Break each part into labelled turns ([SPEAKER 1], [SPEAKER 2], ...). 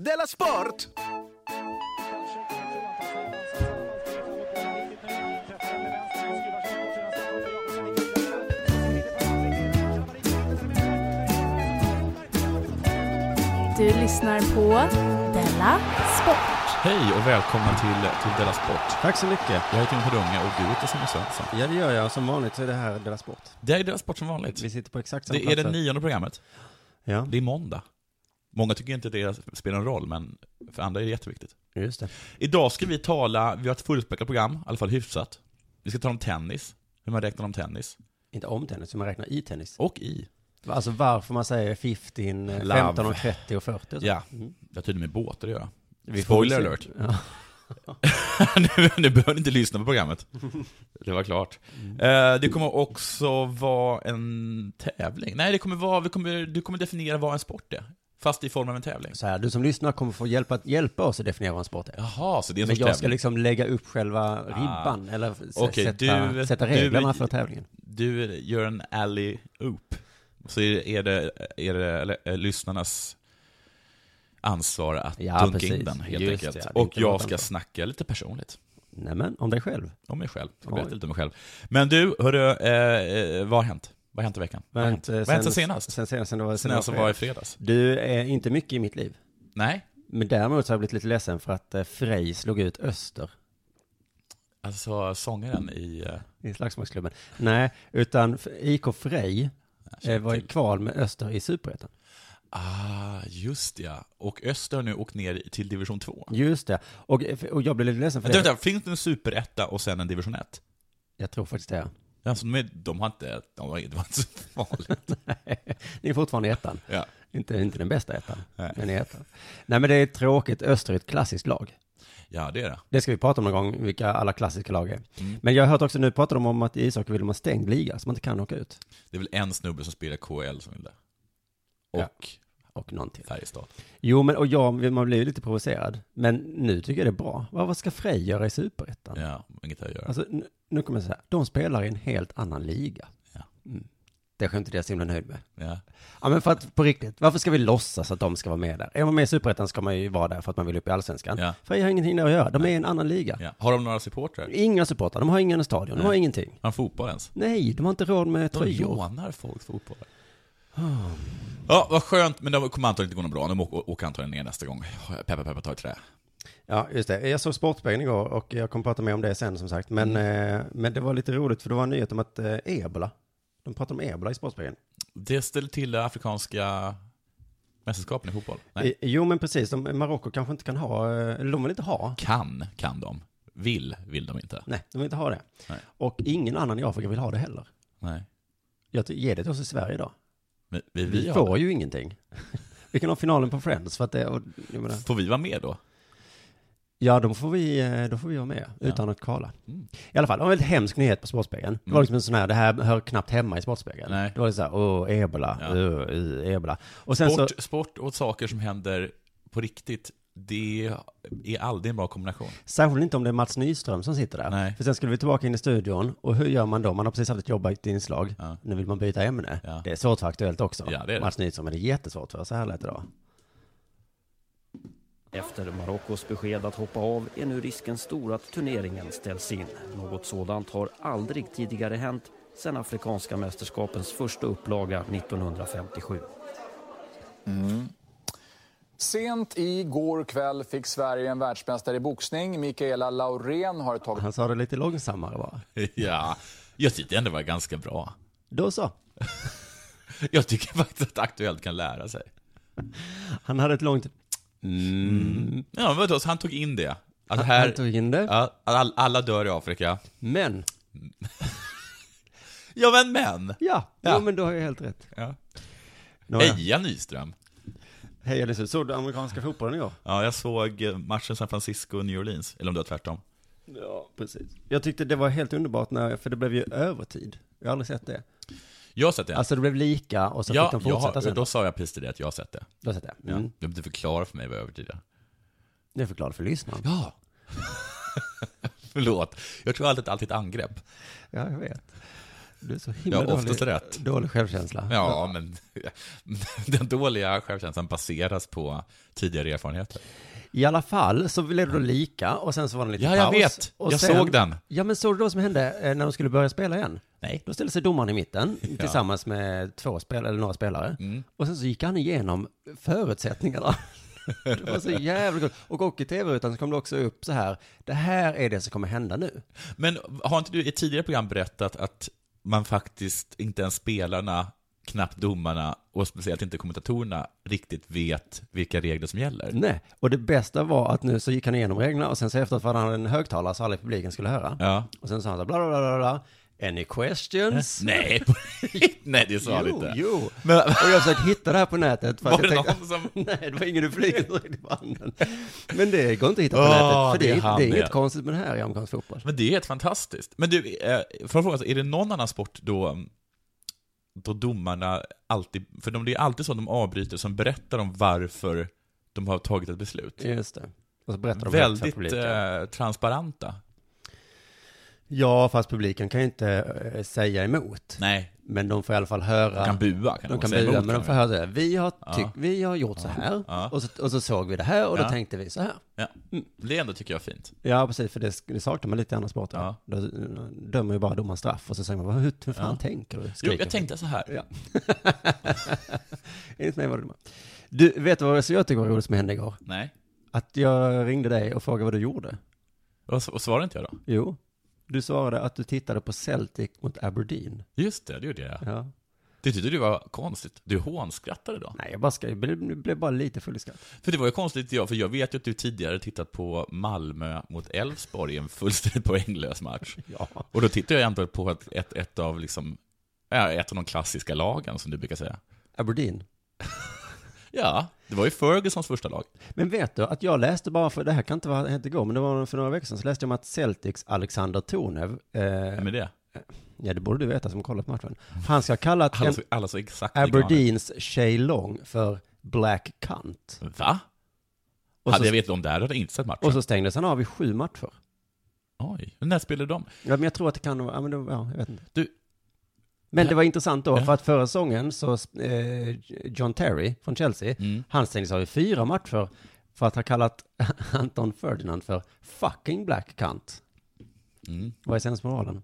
[SPEAKER 1] Della Sport!
[SPEAKER 2] Du lyssnar på Della Sport.
[SPEAKER 3] Hej och välkomna till, till Della Sport.
[SPEAKER 4] Tack så mycket.
[SPEAKER 3] Jag heter Jon Hedunga och du heter Simon Svensson.
[SPEAKER 4] Ja, det gör jag. Som vanligt så är det här Della Sport.
[SPEAKER 3] Det här är Della Sport som vanligt.
[SPEAKER 4] Vi sitter på exakt samma
[SPEAKER 3] Det är det
[SPEAKER 4] platser.
[SPEAKER 3] nionde programmet.
[SPEAKER 4] Ja,
[SPEAKER 3] Det är måndag. Många tycker inte det spelar någon roll, men för andra är det jätteviktigt.
[SPEAKER 4] just det.
[SPEAKER 3] Idag ska vi tala, vi har ett fullspäckat program, i alla fall hyfsat. Vi ska tala om tennis, hur man räknar om tennis.
[SPEAKER 4] Inte om tennis, hur man räknar i tennis.
[SPEAKER 3] Och i.
[SPEAKER 4] Alltså varför man säger 15, eh,
[SPEAKER 3] Love.
[SPEAKER 4] 15 och 30 och 40. och så.
[SPEAKER 3] Ja,
[SPEAKER 4] Mm.
[SPEAKER 3] det har tydligen med båtar att göra.
[SPEAKER 4] Vi får
[SPEAKER 3] Spoiler
[SPEAKER 4] väl se.
[SPEAKER 3] alert.
[SPEAKER 4] Ja.
[SPEAKER 3] nu, nu behöver ni inte lyssna på programmet. Det var klart. Eh, det kommer också vara en tävling. Nej, det kommer vara, vi kommer, du kommer definiera vad en sport är. Fast i form av en tävling.
[SPEAKER 4] Så här, du som lyssnar kommer få hjälpa, hjälpa oss att definiera vad en sport är.
[SPEAKER 3] Jaha, så det är en
[SPEAKER 4] Men
[SPEAKER 3] sorts
[SPEAKER 4] jag ska
[SPEAKER 3] tävling. Ah.
[SPEAKER 4] liksom lägga upp själva ribban, eller s-
[SPEAKER 3] Okej,
[SPEAKER 4] sätta,
[SPEAKER 3] du-
[SPEAKER 4] sätta
[SPEAKER 3] du-
[SPEAKER 4] reglerna för tävlingen.
[SPEAKER 3] Du gör en alley oop. Så är det, är det eller, eh, lyssnarnas ansvar att
[SPEAKER 4] Ja,
[SPEAKER 3] dunka in
[SPEAKER 4] precis.
[SPEAKER 3] den, helt
[SPEAKER 4] Just
[SPEAKER 3] enkelt.
[SPEAKER 4] det, ja, det
[SPEAKER 3] Och
[SPEAKER 4] är inte
[SPEAKER 3] jag
[SPEAKER 4] något
[SPEAKER 3] ska
[SPEAKER 4] annat.
[SPEAKER 3] snacka lite personligt.
[SPEAKER 4] Nämen, om dig själv.
[SPEAKER 3] Om mig själv. Jag
[SPEAKER 4] Oj.
[SPEAKER 3] berätta lite om mig själv. Men du, hörru, eh, eh, vad har hänt? Vad har hänt i veckan? Vad har hänt?
[SPEAKER 4] eh,
[SPEAKER 3] Vad har hänt sen senast?
[SPEAKER 4] Sen senast, sen det var,
[SPEAKER 3] Sen jag som var i fredags?
[SPEAKER 4] Du är inte mycket i mitt liv.
[SPEAKER 3] Nej,
[SPEAKER 4] Men däremot så har jag blivit lite ledsen för att eh, Frej slog ut Öster
[SPEAKER 3] alltså sångaren i... eh,
[SPEAKER 4] i slagsmålsklubben. Nej, utan f- IK Frej eh, var i kval med Öster i Superettan.
[SPEAKER 3] Ah, just det, ja. Och Öster har nu åkt ner till division 2.
[SPEAKER 4] Just det. Och, eh, och jag blev lite ledsen för
[SPEAKER 3] Vänta,
[SPEAKER 4] det.
[SPEAKER 3] vänta, finns det en superetta och sen en division 1?
[SPEAKER 4] Jag tror faktiskt det.
[SPEAKER 3] Alltså, de, är- de har inte... De var, det var inte så farligt.
[SPEAKER 4] Ni är fortfarande i ettan.
[SPEAKER 3] Ja.
[SPEAKER 4] Inte, inte den bästa ettan,
[SPEAKER 3] Nej.
[SPEAKER 4] men i ettan. Nej, men det är tråkigt. Öster är ett klassiskt lag.
[SPEAKER 3] ja, det är det.
[SPEAKER 4] Det ska vi prata om någon gång, vilka alla klassiska lag är.
[SPEAKER 3] Mm.
[SPEAKER 4] Men jag har hört också nu, pratar de om att i ishockey vill man stängd liga, så man inte kan åka ut.
[SPEAKER 3] Det är väl en snubbe som spelar KL som vill det.
[SPEAKER 4] Ja.
[SPEAKER 3] Och
[SPEAKER 4] Och någon till.
[SPEAKER 3] Färjestad.
[SPEAKER 4] Jo, men och jag, man blir ju lite provocerad. Men nu tycker jag det är bra. Vad, vad ska Frej göra i superettan?
[SPEAKER 3] Ja, inget att göra.
[SPEAKER 4] Alltså, nu, nu kommer jag säga, de spelar i en helt annan liga.
[SPEAKER 3] Ja.
[SPEAKER 4] Mm. Det är jag inte det jag är så himla nöjd med.
[SPEAKER 3] Ja.
[SPEAKER 4] Ja, men för att på riktigt, varför ska vi låtsas att de ska vara med där? Är man med i superettan ska man ju vara där för att man vill upp i allsvenskan.
[SPEAKER 3] Ja.
[SPEAKER 4] Frej har ingenting där att göra, de är i en annan liga.
[SPEAKER 3] Ja. Har de några supportrar?
[SPEAKER 4] Inga supportrar, de har ingen stadion, de har ingenting.
[SPEAKER 3] Har de fotboll ens?
[SPEAKER 4] Nej, de har inte råd med
[SPEAKER 3] De
[SPEAKER 4] tröjor.
[SPEAKER 3] lånar folk fotboll.
[SPEAKER 4] Ah.
[SPEAKER 3] Ja, vad skönt, men det kommer antagligen inte gå något bra. De åker, åker antagligen ner nästa gång. Peppa, peppa, ta i trä.
[SPEAKER 4] Ja, just det. Jag såg Sportspegeln igår och jag kommer prata mer om det sen som sagt. Men,
[SPEAKER 3] Mm.
[SPEAKER 4] eh, men det var lite roligt för det var en nyhet om att eh, ebola, de pratar om ebola i Sportspegeln.
[SPEAKER 3] Det ställer till det afrikanska mästerskapen i fotboll. Nej,
[SPEAKER 4] I- Eh, Jo, men precis, de, Marocko kanske inte kan ha, eh, eller de vill inte ha
[SPEAKER 3] kan, kan de. Vill, vill de inte.
[SPEAKER 4] Nej, de vill inte ha det.
[SPEAKER 3] Nej.
[SPEAKER 4] Och ingen annan i Afrika vill ha det heller.
[SPEAKER 3] Nej.
[SPEAKER 4] Jag ty- ger det till oss i Sverige idag.
[SPEAKER 3] Men vi,
[SPEAKER 4] Vi,
[SPEAKER 3] vi har
[SPEAKER 4] får
[SPEAKER 3] det.
[SPEAKER 4] ju ingenting. vi kan ha finalen på Friends för att det, och, jag menar,
[SPEAKER 3] Får vi vara med då?
[SPEAKER 4] ja då får vi, eh, då får vi vara med utan att kvala.
[SPEAKER 3] Mm.
[SPEAKER 4] I alla fall, det var en väldigt hemsk nyhet på Sportspegeln. Det var liksom en sån här, det här hör knappt hemma i Sportspegeln.
[SPEAKER 3] Nej.
[SPEAKER 4] Det var lite så här, åh, ebola,
[SPEAKER 3] Ja.
[SPEAKER 4] ja. ebola. Och sen
[SPEAKER 3] Sport,
[SPEAKER 4] så,
[SPEAKER 3] sport och saker som händer på riktigt, det är aldrig en bra kombination.
[SPEAKER 4] särskilt inte om det är Mats Nyström som sitter där.
[SPEAKER 3] Nej.
[SPEAKER 4] För sen skulle vi tillbaka in i studion, och hur gör man då? Man har precis haft ett jobbigt inslag,
[SPEAKER 3] Ja.
[SPEAKER 4] nu vill man byta ämne.
[SPEAKER 3] Ja.
[SPEAKER 4] Det är svårt för Aktuellt också.
[SPEAKER 3] Ja, det är det.
[SPEAKER 4] Mats Nyström, men det är jättesvårt för, så här lät det då.
[SPEAKER 5] Efter Marockos besked att hoppa av är nu risken stor att turneringen ställs in. Något sådant har aldrig tidigare hänt sedan Afrikanska mästerskapens första upplaga 1957.
[SPEAKER 6] Sent igår kväll fick Sverige en världsmästare i boxning. Mikaela Laurén har tagit
[SPEAKER 4] Han sa det lite långsammare bara.
[SPEAKER 3] ja, jag tyckte ändå det var ganska bra.
[SPEAKER 4] Då så.
[SPEAKER 3] Jag tycker faktiskt att Aktuellt kan lära sig.
[SPEAKER 4] Han hade ett långt...
[SPEAKER 3] Ja, men vadå, så han tog in det. Att
[SPEAKER 4] Han
[SPEAKER 3] här,
[SPEAKER 4] tog in det.
[SPEAKER 3] Ja, all, alla dör i Afrika.
[SPEAKER 4] Men,
[SPEAKER 3] Ja, men men!
[SPEAKER 4] ja,
[SPEAKER 3] Ja.
[SPEAKER 4] Jo, men då har jag helt rätt.
[SPEAKER 3] Ja.
[SPEAKER 4] Nåja.
[SPEAKER 3] Heja Nyström!
[SPEAKER 4] Hej, Elisabeth. Såg du amerikanska fotbollen igår?
[SPEAKER 3] Ja, jag såg eh, matchen San Francisco-New Orleans, eller om det var tvärtom.
[SPEAKER 4] Ja, precis. Jag tyckte det var helt underbart, när, för det blev ju övertid. Jag har aldrig sett det.
[SPEAKER 3] Jag har sett det.
[SPEAKER 4] Alltså det blev lika och så
[SPEAKER 3] ja,
[SPEAKER 4] fick de
[SPEAKER 3] jag har-
[SPEAKER 4] fortsätta sen.
[SPEAKER 3] då
[SPEAKER 4] Då,
[SPEAKER 3] sa jag precis till dig att jag har sett det.
[SPEAKER 4] har jag sett det.
[SPEAKER 3] Ja.
[SPEAKER 4] Mm.
[SPEAKER 3] Du behöver inte förklara för mig vad övertid är.
[SPEAKER 4] Det förklarar för lyssnaren.
[SPEAKER 3] Ja! Förlåt, jag tror alltid att allt är ett angrepp.
[SPEAKER 4] Ja, jag vet. Du är så himla
[SPEAKER 3] Jag har oftast
[SPEAKER 4] dålig,
[SPEAKER 3] rätt.
[SPEAKER 4] dålig självkänsla.
[SPEAKER 3] Ja, men den dåliga självkänslan baseras på tidigare erfarenheter.
[SPEAKER 4] I alla fall så blev det då lika och sen så var det en liten
[SPEAKER 3] Ja, jag
[SPEAKER 4] paus.
[SPEAKER 3] vet.
[SPEAKER 4] Och
[SPEAKER 3] Jag såg den.
[SPEAKER 4] Ja, men såg du då vad som hände eh, när de skulle börja spela igen?
[SPEAKER 3] Nej.
[SPEAKER 4] Då ställde sig domaren i mitten tillsammans med två spelare, eller några spelare.
[SPEAKER 3] Mm.
[SPEAKER 4] Och sen så gick han igenom förutsättningarna. Det var så jävla kul. Och, och i tv-rutan så kom det också upp så här, det här är det som kommer hända nu.
[SPEAKER 3] Men har inte du i ett tidigare program berättat att man faktiskt inte ens spelarna, knappt domarna och speciellt inte kommentatorerna riktigt vet vilka regler som gäller?
[SPEAKER 4] Nej, och det bästa var att nu så gick han igenom reglerna och sen så efteråt var han en högtalare så alla i publiken skulle höra.
[SPEAKER 3] Ja.
[SPEAKER 4] Och sen sa han så här, bla bla bla bla, bla, any questions?
[SPEAKER 3] Nej, på riktigt. nej det sa du
[SPEAKER 4] jo,
[SPEAKER 3] inte.
[SPEAKER 4] jo.
[SPEAKER 3] Men,
[SPEAKER 4] Och jag försökte hitta det här på nätet. För
[SPEAKER 3] var
[SPEAKER 4] att
[SPEAKER 3] det
[SPEAKER 4] jag tänkte,
[SPEAKER 3] någon som...
[SPEAKER 4] Nej, det var ingen du flygade i handen. Men det går inte att hitta på
[SPEAKER 3] Åh,
[SPEAKER 4] nätet, för
[SPEAKER 3] det är
[SPEAKER 4] det, är-
[SPEAKER 3] han
[SPEAKER 4] det är
[SPEAKER 3] det.
[SPEAKER 4] inget konstigt med det här i amerikansk fotboll.
[SPEAKER 3] Men det är helt fantastiskt. Men du, eh, för att fråga, så, är det någon annan sport då, då domarna alltid, för de, det är alltid så de avbryter, som berättar om varför de har tagit ett beslut.
[SPEAKER 4] Just det. Och så berättar de högt för
[SPEAKER 3] Väldigt
[SPEAKER 4] publiken.
[SPEAKER 3] eh, transparenta.
[SPEAKER 4] Ja, fast publiken kan ju inte eh, säga emot.
[SPEAKER 3] Nej,
[SPEAKER 4] Men de får i alla fall
[SPEAKER 3] de
[SPEAKER 4] höra.
[SPEAKER 3] kan bua. Kan
[SPEAKER 4] de
[SPEAKER 3] de
[SPEAKER 4] kan
[SPEAKER 3] säga
[SPEAKER 4] bua,
[SPEAKER 3] emot
[SPEAKER 4] men de
[SPEAKER 3] dem.
[SPEAKER 4] får höra så här. Vi har, tyck,
[SPEAKER 3] Ja.
[SPEAKER 4] vi har gjort så här.
[SPEAKER 3] Ja.
[SPEAKER 4] Och, så, och så såg vi det här och
[SPEAKER 3] Ja.
[SPEAKER 4] då tänkte vi så här.
[SPEAKER 3] Det ändå tycker jag är fint.
[SPEAKER 4] Ja, precis, för det, det saknar man lite i andra sporter.
[SPEAKER 3] Ja.
[SPEAKER 4] Då eh, dömer ju bara domaren straff och så säger man, "Vad- hur, hur fan
[SPEAKER 3] Ja.
[SPEAKER 4] tänker du?
[SPEAKER 3] Jo,
[SPEAKER 4] Skriker
[SPEAKER 3] jag tänkte så här.
[SPEAKER 4] Ja. Enligt mig var det dumma. Du, vet du vad så jag tycker var roligt som hände igår?
[SPEAKER 3] Nej.
[SPEAKER 4] Att jag ringde dig och frågade vad du gjorde.
[SPEAKER 3] Och, s- och svarade inte jag då?
[SPEAKER 4] Jo, du svarade att du tittade på Celtic mot Aberdeen.
[SPEAKER 3] Just det, det gjorde jag.
[SPEAKER 4] Ja.
[SPEAKER 3] Det tyckte du var konstigt. Du hånskrattade då.
[SPEAKER 4] Nej, jag bara ska, jag blev, blev bara lite full i skratt.
[SPEAKER 3] För det var ju konstigt, jag, för jag vet ju att du tidigare tittat på Malmö mot Elfsborg i en fullständigt poänglös match.
[SPEAKER 4] Ja.
[SPEAKER 3] Och då tittar jag ändå på ett, ett, ett, av liksom, ja, ett av de klassiska lagen, som du brukar säga.
[SPEAKER 4] Aberdeen.
[SPEAKER 3] Ja, det var ju Fergusons första lag.
[SPEAKER 4] Men vet du att jag läste bara för, det här kan inte vara hänt igår, men det var för några veckor sedan så läste jag om att Celtics Alexander Tonev, eh,
[SPEAKER 3] Vem är det?
[SPEAKER 4] ja det borde du veta som kollat matchen, han ska ha kallat
[SPEAKER 3] Alla
[SPEAKER 4] en
[SPEAKER 3] så, alla så exakt likadana.
[SPEAKER 4] Aberdeens Shay Long för Black Cunt.
[SPEAKER 3] Va?
[SPEAKER 4] Och
[SPEAKER 3] hade
[SPEAKER 4] så,
[SPEAKER 3] jag vetat om det här hade jag inte sett matchen.
[SPEAKER 4] och så stängdes han av i sju matcher.
[SPEAKER 3] Oj, när spelade de?
[SPEAKER 4] Ja, men jag tror att det kan vara, ja, men det, ja, jag vet inte.
[SPEAKER 3] Du-
[SPEAKER 4] men det var intressant då,
[SPEAKER 3] Ja.
[SPEAKER 4] för att förra säsongen så, eh, John Terry från Chelsea,
[SPEAKER 3] Mm.
[SPEAKER 4] han stängdes av i fyra matcher för att ha kallat Anton Ferdinand för fucking black cunt.
[SPEAKER 3] Mm.
[SPEAKER 4] Vad är sensmoralen?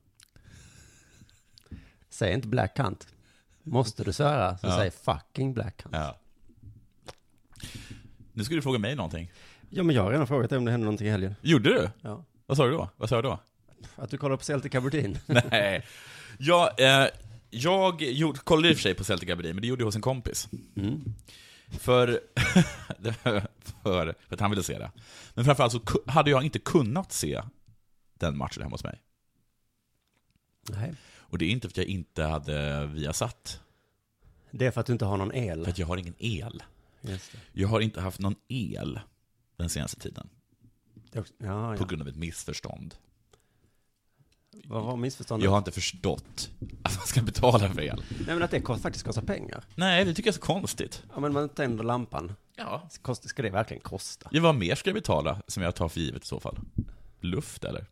[SPEAKER 4] Säg inte black cunt. Måste du svära så
[SPEAKER 3] Ja.
[SPEAKER 4] säg fucking black cunt.
[SPEAKER 3] Ja. Nu skulle du fråga mig någonting.
[SPEAKER 4] Ja, men jag har redan frågat dig om det hände någonting i helgen.
[SPEAKER 3] Gjorde du?
[SPEAKER 4] Ja.
[SPEAKER 3] Vad sa du då? Vad sa jag då?
[SPEAKER 4] Att du kollar på Celtic Aberdeen.
[SPEAKER 3] Nej. Jag, eh, jag gjorde, kollade i och för sig på Celtic Aberdeen, men det gjorde jag hos en kompis. Mm. För, för, för att han ville se det. Men framförallt så ku- hade jag inte kunnat se den matchen hemma hos mig.
[SPEAKER 4] Nej.
[SPEAKER 3] Och det är inte för att jag inte hade Viasat,
[SPEAKER 4] Det är för att du inte har någon el.
[SPEAKER 3] för att jag har ingen el.
[SPEAKER 4] Just det.
[SPEAKER 3] Jag har inte haft någon el den senaste tiden,
[SPEAKER 4] Det är också- Ja,
[SPEAKER 3] på
[SPEAKER 4] ja.
[SPEAKER 3] grund av ett missförstånd.
[SPEAKER 4] Vad var missförståndet?
[SPEAKER 3] Jag har inte förstått att man ska betala för el.
[SPEAKER 4] Nej, men att det kost, faktiskt kostar pengar.
[SPEAKER 3] Nej, det tycker jag är så konstigt.
[SPEAKER 4] Ja, men man tänder lampan.
[SPEAKER 3] Ja.
[SPEAKER 4] Kost, ska det verkligen kosta?
[SPEAKER 3] Ja, vad mer ska jag betala som jag tar för givet i så fall? Luft eller?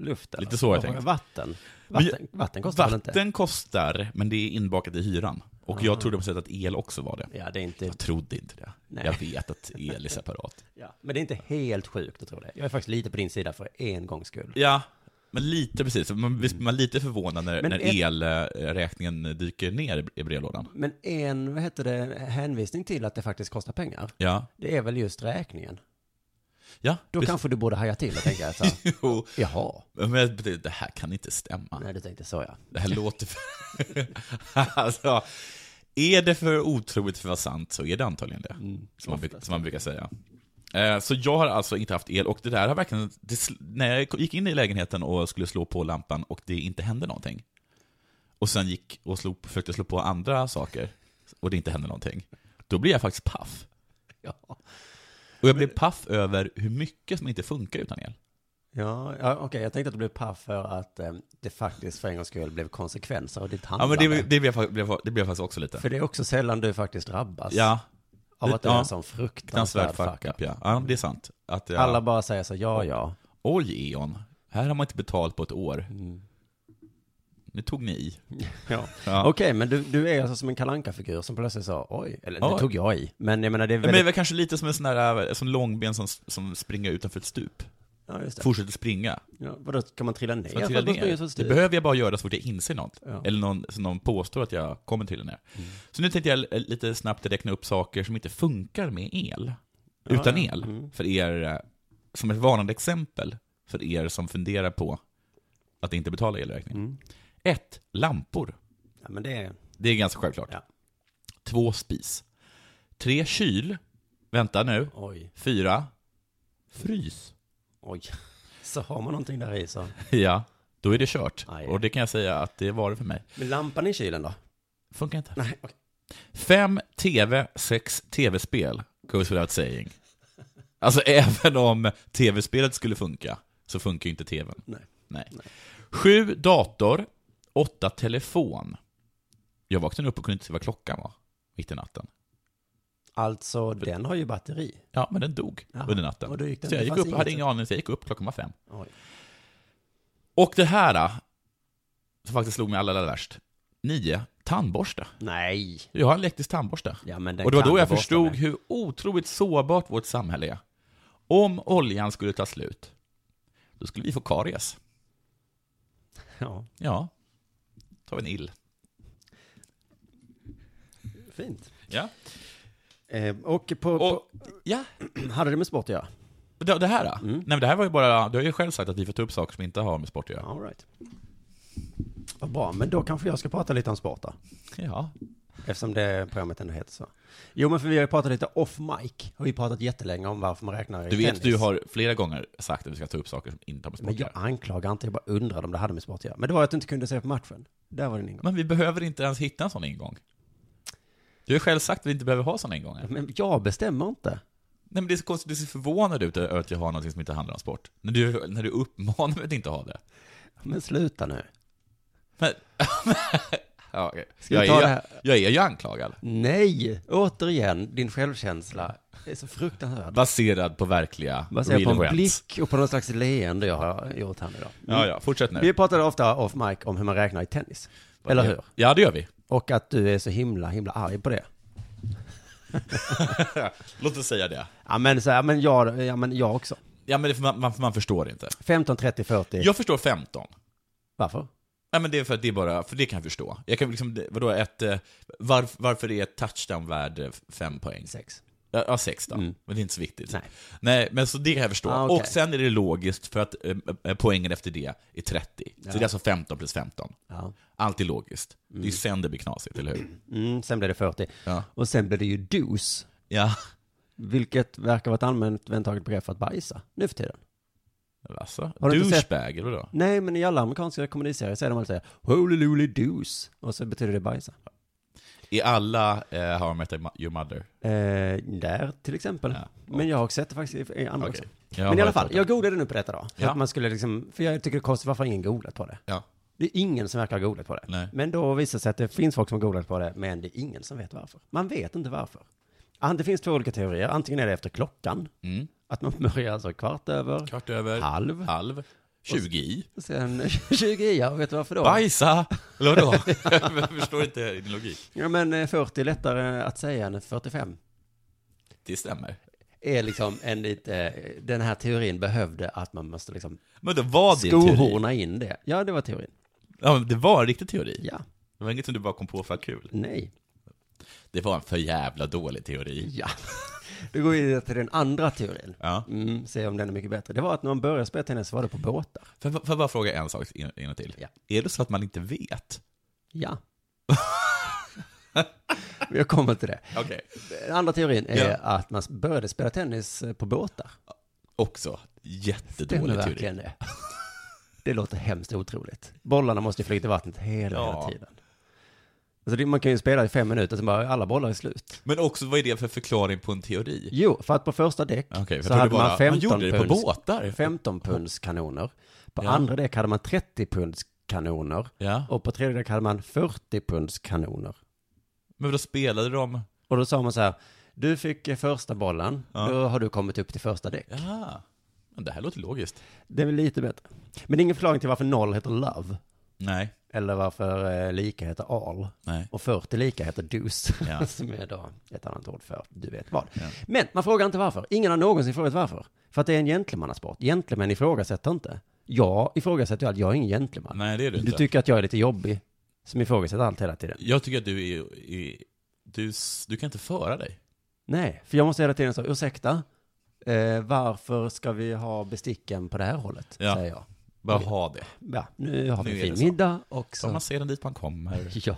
[SPEAKER 4] Luften?
[SPEAKER 3] Lite så har jag
[SPEAKER 4] Vad var
[SPEAKER 3] tänkt.
[SPEAKER 4] det? Vatten?
[SPEAKER 3] Men jag-
[SPEAKER 4] Vatten, vatten kostar väl inte? Ah.
[SPEAKER 3] Vatten kostar, men det är inbakat i hyran. Och jag trodde på sätt att el också var det.
[SPEAKER 4] Ja, det är inte...
[SPEAKER 3] Jag trodde inte det.
[SPEAKER 4] Nej.
[SPEAKER 3] Jag vet att el är separat.
[SPEAKER 4] Ja. Men det är inte helt sjukt att tro det. Jag är faktiskt lite på din sida för en gångs skull.
[SPEAKER 3] Ja, men lite precis. Man, visst blir man lite förvånad när,
[SPEAKER 4] Men
[SPEAKER 3] när
[SPEAKER 4] ett-
[SPEAKER 3] elräkningen dyker ner i- i brevlådan.
[SPEAKER 4] Men en, vad heter det, hänvisning till att det faktiskt kostar pengar,
[SPEAKER 3] Ja,
[SPEAKER 4] det är väl just räkningen.
[SPEAKER 3] ja.
[SPEAKER 4] Då
[SPEAKER 3] precis.
[SPEAKER 4] kanske du borde haja till och tänka så här,
[SPEAKER 3] Jo,
[SPEAKER 4] jaha,
[SPEAKER 3] men jag betyder, det här kan inte stämma.
[SPEAKER 4] nej du tänkte så ja.
[SPEAKER 3] Det här låter för... alltså, är det för otroligt för att vara sant så är det antagligen det.
[SPEAKER 4] Mm,
[SPEAKER 3] som, man, bruk- som man brukar säga. Eh, Så jag har alltså inte haft el och det där har verkligen, det, sl- när jag gick in i lägenheten och skulle slå på lampan och det inte hände någonting. Och sen gick och slog, försökte slå på andra saker och det inte hände någonting. Då blir jag faktiskt paff.
[SPEAKER 4] Ja,
[SPEAKER 3] Och jag blev paff över hur mycket som inte funkar utan el.
[SPEAKER 4] ja, ja okej, jag tänkte att du blev paff för att eh, det faktiskt för en gångs skull blev konsekvenser av ditt
[SPEAKER 3] Ja men
[SPEAKER 4] handlande.
[SPEAKER 3] det, det, blev, jag fa- blev, det blev jag faktiskt också lite.
[SPEAKER 4] För det är också sällan du faktiskt drabbas
[SPEAKER 3] Ja,
[SPEAKER 4] av att du
[SPEAKER 3] ja.
[SPEAKER 4] är en sån
[SPEAKER 3] fruktansvärd
[SPEAKER 4] fruktansvärd
[SPEAKER 3] fuck
[SPEAKER 4] fuck
[SPEAKER 3] up ja. ja. det är sant. Att jag,
[SPEAKER 4] Alla bara säger så, ja ja. Mm.
[SPEAKER 3] Oj Eon, här har man inte betalt på ett år. Nu tog ni i.
[SPEAKER 4] Ja.
[SPEAKER 3] Ja.
[SPEAKER 4] Okej, men du, du är alltså som en kalanka figur som plötsligt sa oj, eller det
[SPEAKER 3] Oj.
[SPEAKER 4] tog jag i, men jag menar det är
[SPEAKER 3] Men det är
[SPEAKER 4] väldigt...
[SPEAKER 3] väl kanske lite som en sån där, eh, som långben som, som springer utanför ett stup.
[SPEAKER 4] Ja, just det.
[SPEAKER 3] Fortsätter springa.
[SPEAKER 4] Ja, vadå, kan man trilla ner?
[SPEAKER 3] Jag
[SPEAKER 4] för
[SPEAKER 3] trillar
[SPEAKER 4] att man springer
[SPEAKER 3] ner.
[SPEAKER 4] så
[SPEAKER 3] Det
[SPEAKER 4] stiligt?
[SPEAKER 3] behöver jag bara göra så fort jag inser något.
[SPEAKER 4] Ja. Mm.
[SPEAKER 3] Eller någon, så någon påstår att jag kommer trilla ner. Så nu tänkte jag eh, lite snabbt räkna upp saker som inte funkar med el. utan el.
[SPEAKER 4] Mm.
[SPEAKER 3] För er, eh, som ett varnande exempel för er som funderar på att inte betala elräkningen.
[SPEAKER 4] Mm.
[SPEAKER 3] Ett, Lampor.
[SPEAKER 4] Ja, men det är...
[SPEAKER 3] Det är ganska självklart.
[SPEAKER 4] Ja.
[SPEAKER 3] Två, Spis. Tre, Kyl. Vänta nu.
[SPEAKER 4] Oj,
[SPEAKER 3] Fyra, Frys.
[SPEAKER 4] oj. Så har man någonting där i så.
[SPEAKER 3] Ja, då är det kört.
[SPEAKER 4] Aj.
[SPEAKER 3] Och det kan jag säga att det var det för mig.
[SPEAKER 4] Men lampan i kylen då?
[SPEAKER 3] Funkar inte.
[SPEAKER 4] Nej, okej.
[SPEAKER 3] Fem TV, sex TV-spel, goes without saying. Alltså även om TV-spelet skulle funka, så funkar ju inte TVn.
[SPEAKER 4] Nej.
[SPEAKER 3] Nej.
[SPEAKER 4] Nej.
[SPEAKER 3] Sju dator, åtta telefon. Jag vaknade upp och kunde inte se vad klockan var, mitt i natten.
[SPEAKER 4] Alltså, den har ju batteri.
[SPEAKER 3] Ja, men den dog
[SPEAKER 4] Jaha.
[SPEAKER 3] under natten.
[SPEAKER 4] Och då gick den-
[SPEAKER 3] så jag
[SPEAKER 4] det
[SPEAKER 3] gick
[SPEAKER 4] fanns
[SPEAKER 3] upp,
[SPEAKER 4] inget
[SPEAKER 3] hade
[SPEAKER 4] sätt.
[SPEAKER 3] ingen aning, så jag gick upp, klockan var fem.
[SPEAKER 4] Oj.
[SPEAKER 3] Och det här, äh, som faktiskt slog mig allra, allra värst. Nio, tandborste.
[SPEAKER 4] Nej.
[SPEAKER 3] Jag har en elektrisk tandborste.
[SPEAKER 4] Ja, men den
[SPEAKER 3] Och det var
[SPEAKER 4] kan
[SPEAKER 3] då
[SPEAKER 4] du
[SPEAKER 3] jag
[SPEAKER 4] borsta
[SPEAKER 3] förstod
[SPEAKER 4] med.
[SPEAKER 3] hur otroligt sårbart vårt samhälle är. Om oljan skulle ta slut, då skulle vi få karies.
[SPEAKER 4] Ja,
[SPEAKER 3] Ja, ta en ill.
[SPEAKER 4] fint.
[SPEAKER 3] Ja.
[SPEAKER 4] Eh, och på,
[SPEAKER 3] Och, ja,
[SPEAKER 4] på... Hade det med sport att göra?
[SPEAKER 3] det det här då?
[SPEAKER 4] Mm.
[SPEAKER 3] Nej men det här var ju bara, du har ju själv sagt att vi får ta upp saker som inte har med sport att göra.
[SPEAKER 4] All right. Vad bra, men då kanske jag ska prata lite om sport då.
[SPEAKER 3] Ja.
[SPEAKER 4] Eftersom det programmet ändå heter så. Jo, men för vi har ju pratat lite off mic. Har vi pratat jättelänge om varför man räknar i
[SPEAKER 3] Du vet,
[SPEAKER 4] tennis.
[SPEAKER 3] du har flera gånger sagt att vi ska ta upp saker som inte har med sport
[SPEAKER 4] Men
[SPEAKER 3] att
[SPEAKER 4] jag
[SPEAKER 3] göra.
[SPEAKER 4] anklagar inte, jag bara undrade om det hade med sport att göra. Men det var att du inte kunde se på matchen. Där var din ingång.
[SPEAKER 3] Men vi behöver inte ens hitta en sån ingång. Du har själv sagt att vi inte behöver ha såna ingångar.
[SPEAKER 4] Men jag bestämmer inte.
[SPEAKER 3] Nej men det är så konstigt, du ser förvånad ut över att jag har någonting som inte handlar om sport. När du, när du uppmanar mig att inte ha det.
[SPEAKER 4] Men sluta nu.
[SPEAKER 3] Men, ja, okej.
[SPEAKER 4] Ska vi
[SPEAKER 3] jag, är,
[SPEAKER 4] ta det
[SPEAKER 3] ju-
[SPEAKER 4] här?
[SPEAKER 3] jag är ju anklagad.
[SPEAKER 4] Nej! Återigen, din självkänsla är så fruktansvärd.
[SPEAKER 3] Baserad på verkliga
[SPEAKER 4] Baserat
[SPEAKER 3] real
[SPEAKER 4] på en
[SPEAKER 3] events.
[SPEAKER 4] blick och på någon slags leende jag har gjort här nu då.
[SPEAKER 3] Ja, ja, fortsätt nu.
[SPEAKER 4] Vi pratade ofta off mic om hur man räknar i tennis. Eller hur?
[SPEAKER 3] Ja, det gör vi.
[SPEAKER 4] Och att du är så himla, himla arg på det.
[SPEAKER 3] Låt oss säga det.
[SPEAKER 4] Ja men så här, men jag, ja men jag också.
[SPEAKER 3] Ja, men det, man, man, man förstår inte.
[SPEAKER 4] 15, 30, 40.
[SPEAKER 3] Jag förstår 15.
[SPEAKER 4] Varför?
[SPEAKER 3] Nej, men det är för att det är bara, för det kan jag förstå. Jag kan liksom, det- vadå, ett, eh, varf, varför är ett touchdown värd eh, fem poäng?
[SPEAKER 4] Sex.
[SPEAKER 3] Ja, ja, sex då.
[SPEAKER 4] Mm.
[SPEAKER 3] Men det är inte så viktigt.
[SPEAKER 4] Nej.
[SPEAKER 3] Nej, men så det kan jag förstå.
[SPEAKER 4] Ah, okej.
[SPEAKER 3] Och sen är det logiskt för att eh, eh, poängen efter det är 30. Så det är alltså 15 plus 15.
[SPEAKER 4] Ja.
[SPEAKER 3] Allt är logiskt. Det är sen det blir knasigt, eller hur?
[SPEAKER 4] Mm, sen blev det 40.
[SPEAKER 3] Ja.
[SPEAKER 4] Och sen blev det ju dos.
[SPEAKER 3] Ja.
[SPEAKER 4] Vilket verkar vara ett allmänt väntaget begrepp för att bajsa nu för tiden.
[SPEAKER 3] Alltså,
[SPEAKER 4] Har du inte sett-
[SPEAKER 3] douchebag, eller vadå?
[SPEAKER 4] Nej, men i alla amerikanska komediserier säger de alltid så här, holy loly dos. Och så betyder det bajsa.
[SPEAKER 3] I alla eh, How I Met Your Mother.
[SPEAKER 4] Eh, där till exempel.
[SPEAKER 3] Ja, och-
[SPEAKER 4] Men jag har också sett det faktiskt i i andra
[SPEAKER 3] Okej.
[SPEAKER 4] också.
[SPEAKER 3] Jag har
[SPEAKER 4] Men i alla
[SPEAKER 3] hört
[SPEAKER 4] fall,
[SPEAKER 3] om det.
[SPEAKER 4] jag googlade nu på detta då. För
[SPEAKER 3] Ja.
[SPEAKER 4] att man skulle liksom, för jag tycker det är konstigt, varför har ingen googlat på det?
[SPEAKER 3] Ja.
[SPEAKER 4] Det är ingen som verkar ha googlat på det.
[SPEAKER 3] Nej.
[SPEAKER 4] Men då visar det sig att det finns folk som har googlat på det, men det är ingen som vet varför. Man vet inte varför. An- Det finns två olika teorier. Antingen är det efter klockan,
[SPEAKER 3] Mm.
[SPEAKER 4] att man börjar alltså kvart över,
[SPEAKER 3] Kvart över,
[SPEAKER 4] halv,
[SPEAKER 3] halv, 20 i.
[SPEAKER 4] sen 20 i, ja, vet du varför då?
[SPEAKER 3] Bajsa! Eller vadå? jag förstår inte din logik.
[SPEAKER 4] Ja, men eh, 40 är lättare att säga än 45.
[SPEAKER 3] Det stämmer.
[SPEAKER 4] Är liksom en lite, eh, den här teorin behövde att man måste liksom
[SPEAKER 3] Men det var din teori.
[SPEAKER 4] skohorna in det. Ja, det var teorin.
[SPEAKER 3] Ja, men det var en riktig teori.
[SPEAKER 4] Ja,
[SPEAKER 3] Det var inget som du bara kom på för att ha kul.
[SPEAKER 4] nej,
[SPEAKER 3] Det var en för jävla dålig teori.
[SPEAKER 4] ja. Då går vi vidare till den andra teorin.
[SPEAKER 3] Ja.
[SPEAKER 4] Mm, se om den är mycket bättre. Det var att när man började spela tennis var det på båtar.
[SPEAKER 3] Får jag får jag bara fråga en sak in- innan till?
[SPEAKER 4] Ja.
[SPEAKER 3] Är det så att man inte vet?
[SPEAKER 4] Ja. Men Jag kommer till det.
[SPEAKER 3] Okej.
[SPEAKER 4] Den andra teorin är
[SPEAKER 3] Ja.
[SPEAKER 4] att man började spela tennis eh, på båtar.
[SPEAKER 3] Också
[SPEAKER 4] Stämmer
[SPEAKER 3] jättedålig teori.
[SPEAKER 4] verkligen det? Det låter hemskt otroligt. Bollarna måste ju flyta i vattnet hela,
[SPEAKER 3] Ja.
[SPEAKER 4] hela tiden. Alltså det, man kan ju spela i fem minuter, sen bara alla bollar är slut.
[SPEAKER 3] Men också, vad är det för förklaring på en teori?
[SPEAKER 4] Jo, för att på första däck
[SPEAKER 3] Okej, för jag
[SPEAKER 4] så
[SPEAKER 3] trodde
[SPEAKER 4] hade
[SPEAKER 3] bara,
[SPEAKER 4] man
[SPEAKER 3] man
[SPEAKER 4] 15
[SPEAKER 3] gjorde det på
[SPEAKER 4] punds-
[SPEAKER 3] båtar.
[SPEAKER 4] 15 punds kanoner. På
[SPEAKER 3] Ja.
[SPEAKER 4] andra däck hade man 30 punds kanoner.
[SPEAKER 3] Ja.
[SPEAKER 4] Och på tredje däck hade man 40 punds kanoner.
[SPEAKER 3] Men då spelade de...
[SPEAKER 4] Och då sa man så här, du fick eh, första bollen,
[SPEAKER 3] Ja.
[SPEAKER 4] då har du kommit upp till första däck.
[SPEAKER 3] Ja. Men det här låter logiskt.
[SPEAKER 4] Det är väl lite bättre. Men det är ingen förklaring till varför noll heter love.
[SPEAKER 3] Nej.
[SPEAKER 4] Eller varför eh, lika heter al.
[SPEAKER 3] Nej.
[SPEAKER 4] Och 40 lika heter dus.
[SPEAKER 3] Ja.
[SPEAKER 4] som är då ett annat ord för du vet vad.
[SPEAKER 3] Ja.
[SPEAKER 4] Men man frågar inte varför. Ingen har någonsin frågat varför. För att det är en gentlemannasport. Gentlemän ifrågasätter inte. Jag ifrågasätter ju allt. Jag är ingen gentleman.
[SPEAKER 3] Nej, det är du
[SPEAKER 4] du
[SPEAKER 3] inte.
[SPEAKER 4] tycker att jag är lite jobbig. Som ifrågasätter allt hela tiden.
[SPEAKER 3] jag tycker att du är... är du, s- du kan inte föra dig.
[SPEAKER 4] Nej, för jag måste hela tiden säga ursäkta. Eh, varför ska vi ha besticken på det här hållet?
[SPEAKER 3] Ja.
[SPEAKER 4] Säger jag.
[SPEAKER 3] Bara ha det.
[SPEAKER 4] Ja, nu har vi
[SPEAKER 3] Nu är det
[SPEAKER 4] en fin
[SPEAKER 3] så.
[SPEAKER 4] middag och
[SPEAKER 3] Så
[SPEAKER 4] så.
[SPEAKER 3] man ser den dit man kommer.
[SPEAKER 4] Ja.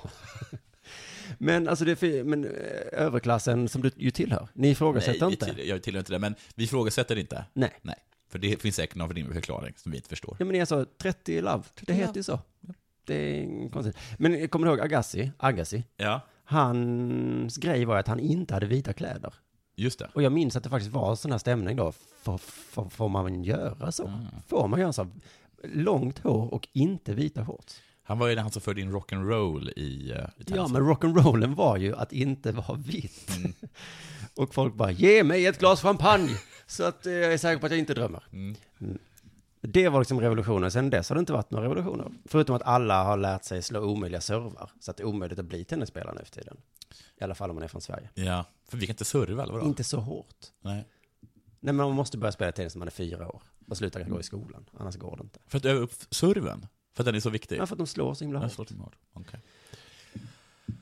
[SPEAKER 4] Men alltså det är fi- men eh, överklassen som du ju tillhör, ni ifrågasätter
[SPEAKER 3] Nej,
[SPEAKER 4] inte?
[SPEAKER 3] vi till- Jag tillhör inte det, men vi ifrågasätter inte.
[SPEAKER 4] Nej.
[SPEAKER 3] Nej. För det finns säkert någon rimlig förklaring som vi inte förstår.
[SPEAKER 4] Ja men ni är alltså 30 love, det heter ju så. Det är inget konstigt. Men kommer du ihåg Agassi? Agassi?
[SPEAKER 3] Ja,
[SPEAKER 4] Hans grej var att han inte hade vita kläder.
[SPEAKER 3] just det.
[SPEAKER 4] Och jag minns att det faktiskt var sån här stämning då. Får, får, får man göra så? Får man göra så? Långt hår och inte vita shorts.
[SPEAKER 3] Han var ju den han som förde in rock'n'roll i, eh, i
[SPEAKER 4] Ja,
[SPEAKER 3] tennis.
[SPEAKER 4] men rock'n'rollen var ju att inte vara vitt. Och folk bara, ge mig ett glas champagne så att eh, jag är säker på att jag inte drömmer. Mm. Det var liksom revolutionen. Sen dess har det inte varit några revolutioner. Förutom att alla har lärt sig slå omöjliga servar. Så att det är omöjligt att bli tennisspelare nu för tiden. I alla fall om man är från Sverige.
[SPEAKER 3] Ja, för vi kan inte serva eller vadå?
[SPEAKER 4] Inte så hårt.
[SPEAKER 3] Nej.
[SPEAKER 4] Nej, men man måste börja spela tennis när man är fyra år. Och sluta
[SPEAKER 3] Mm.
[SPEAKER 4] gå i skolan, annars går det inte.
[SPEAKER 3] För att öva upp serven? För att den är så viktig?
[SPEAKER 4] Men för att de slår så himla
[SPEAKER 3] Jag
[SPEAKER 4] hårt.
[SPEAKER 3] slår till hårt. Okej.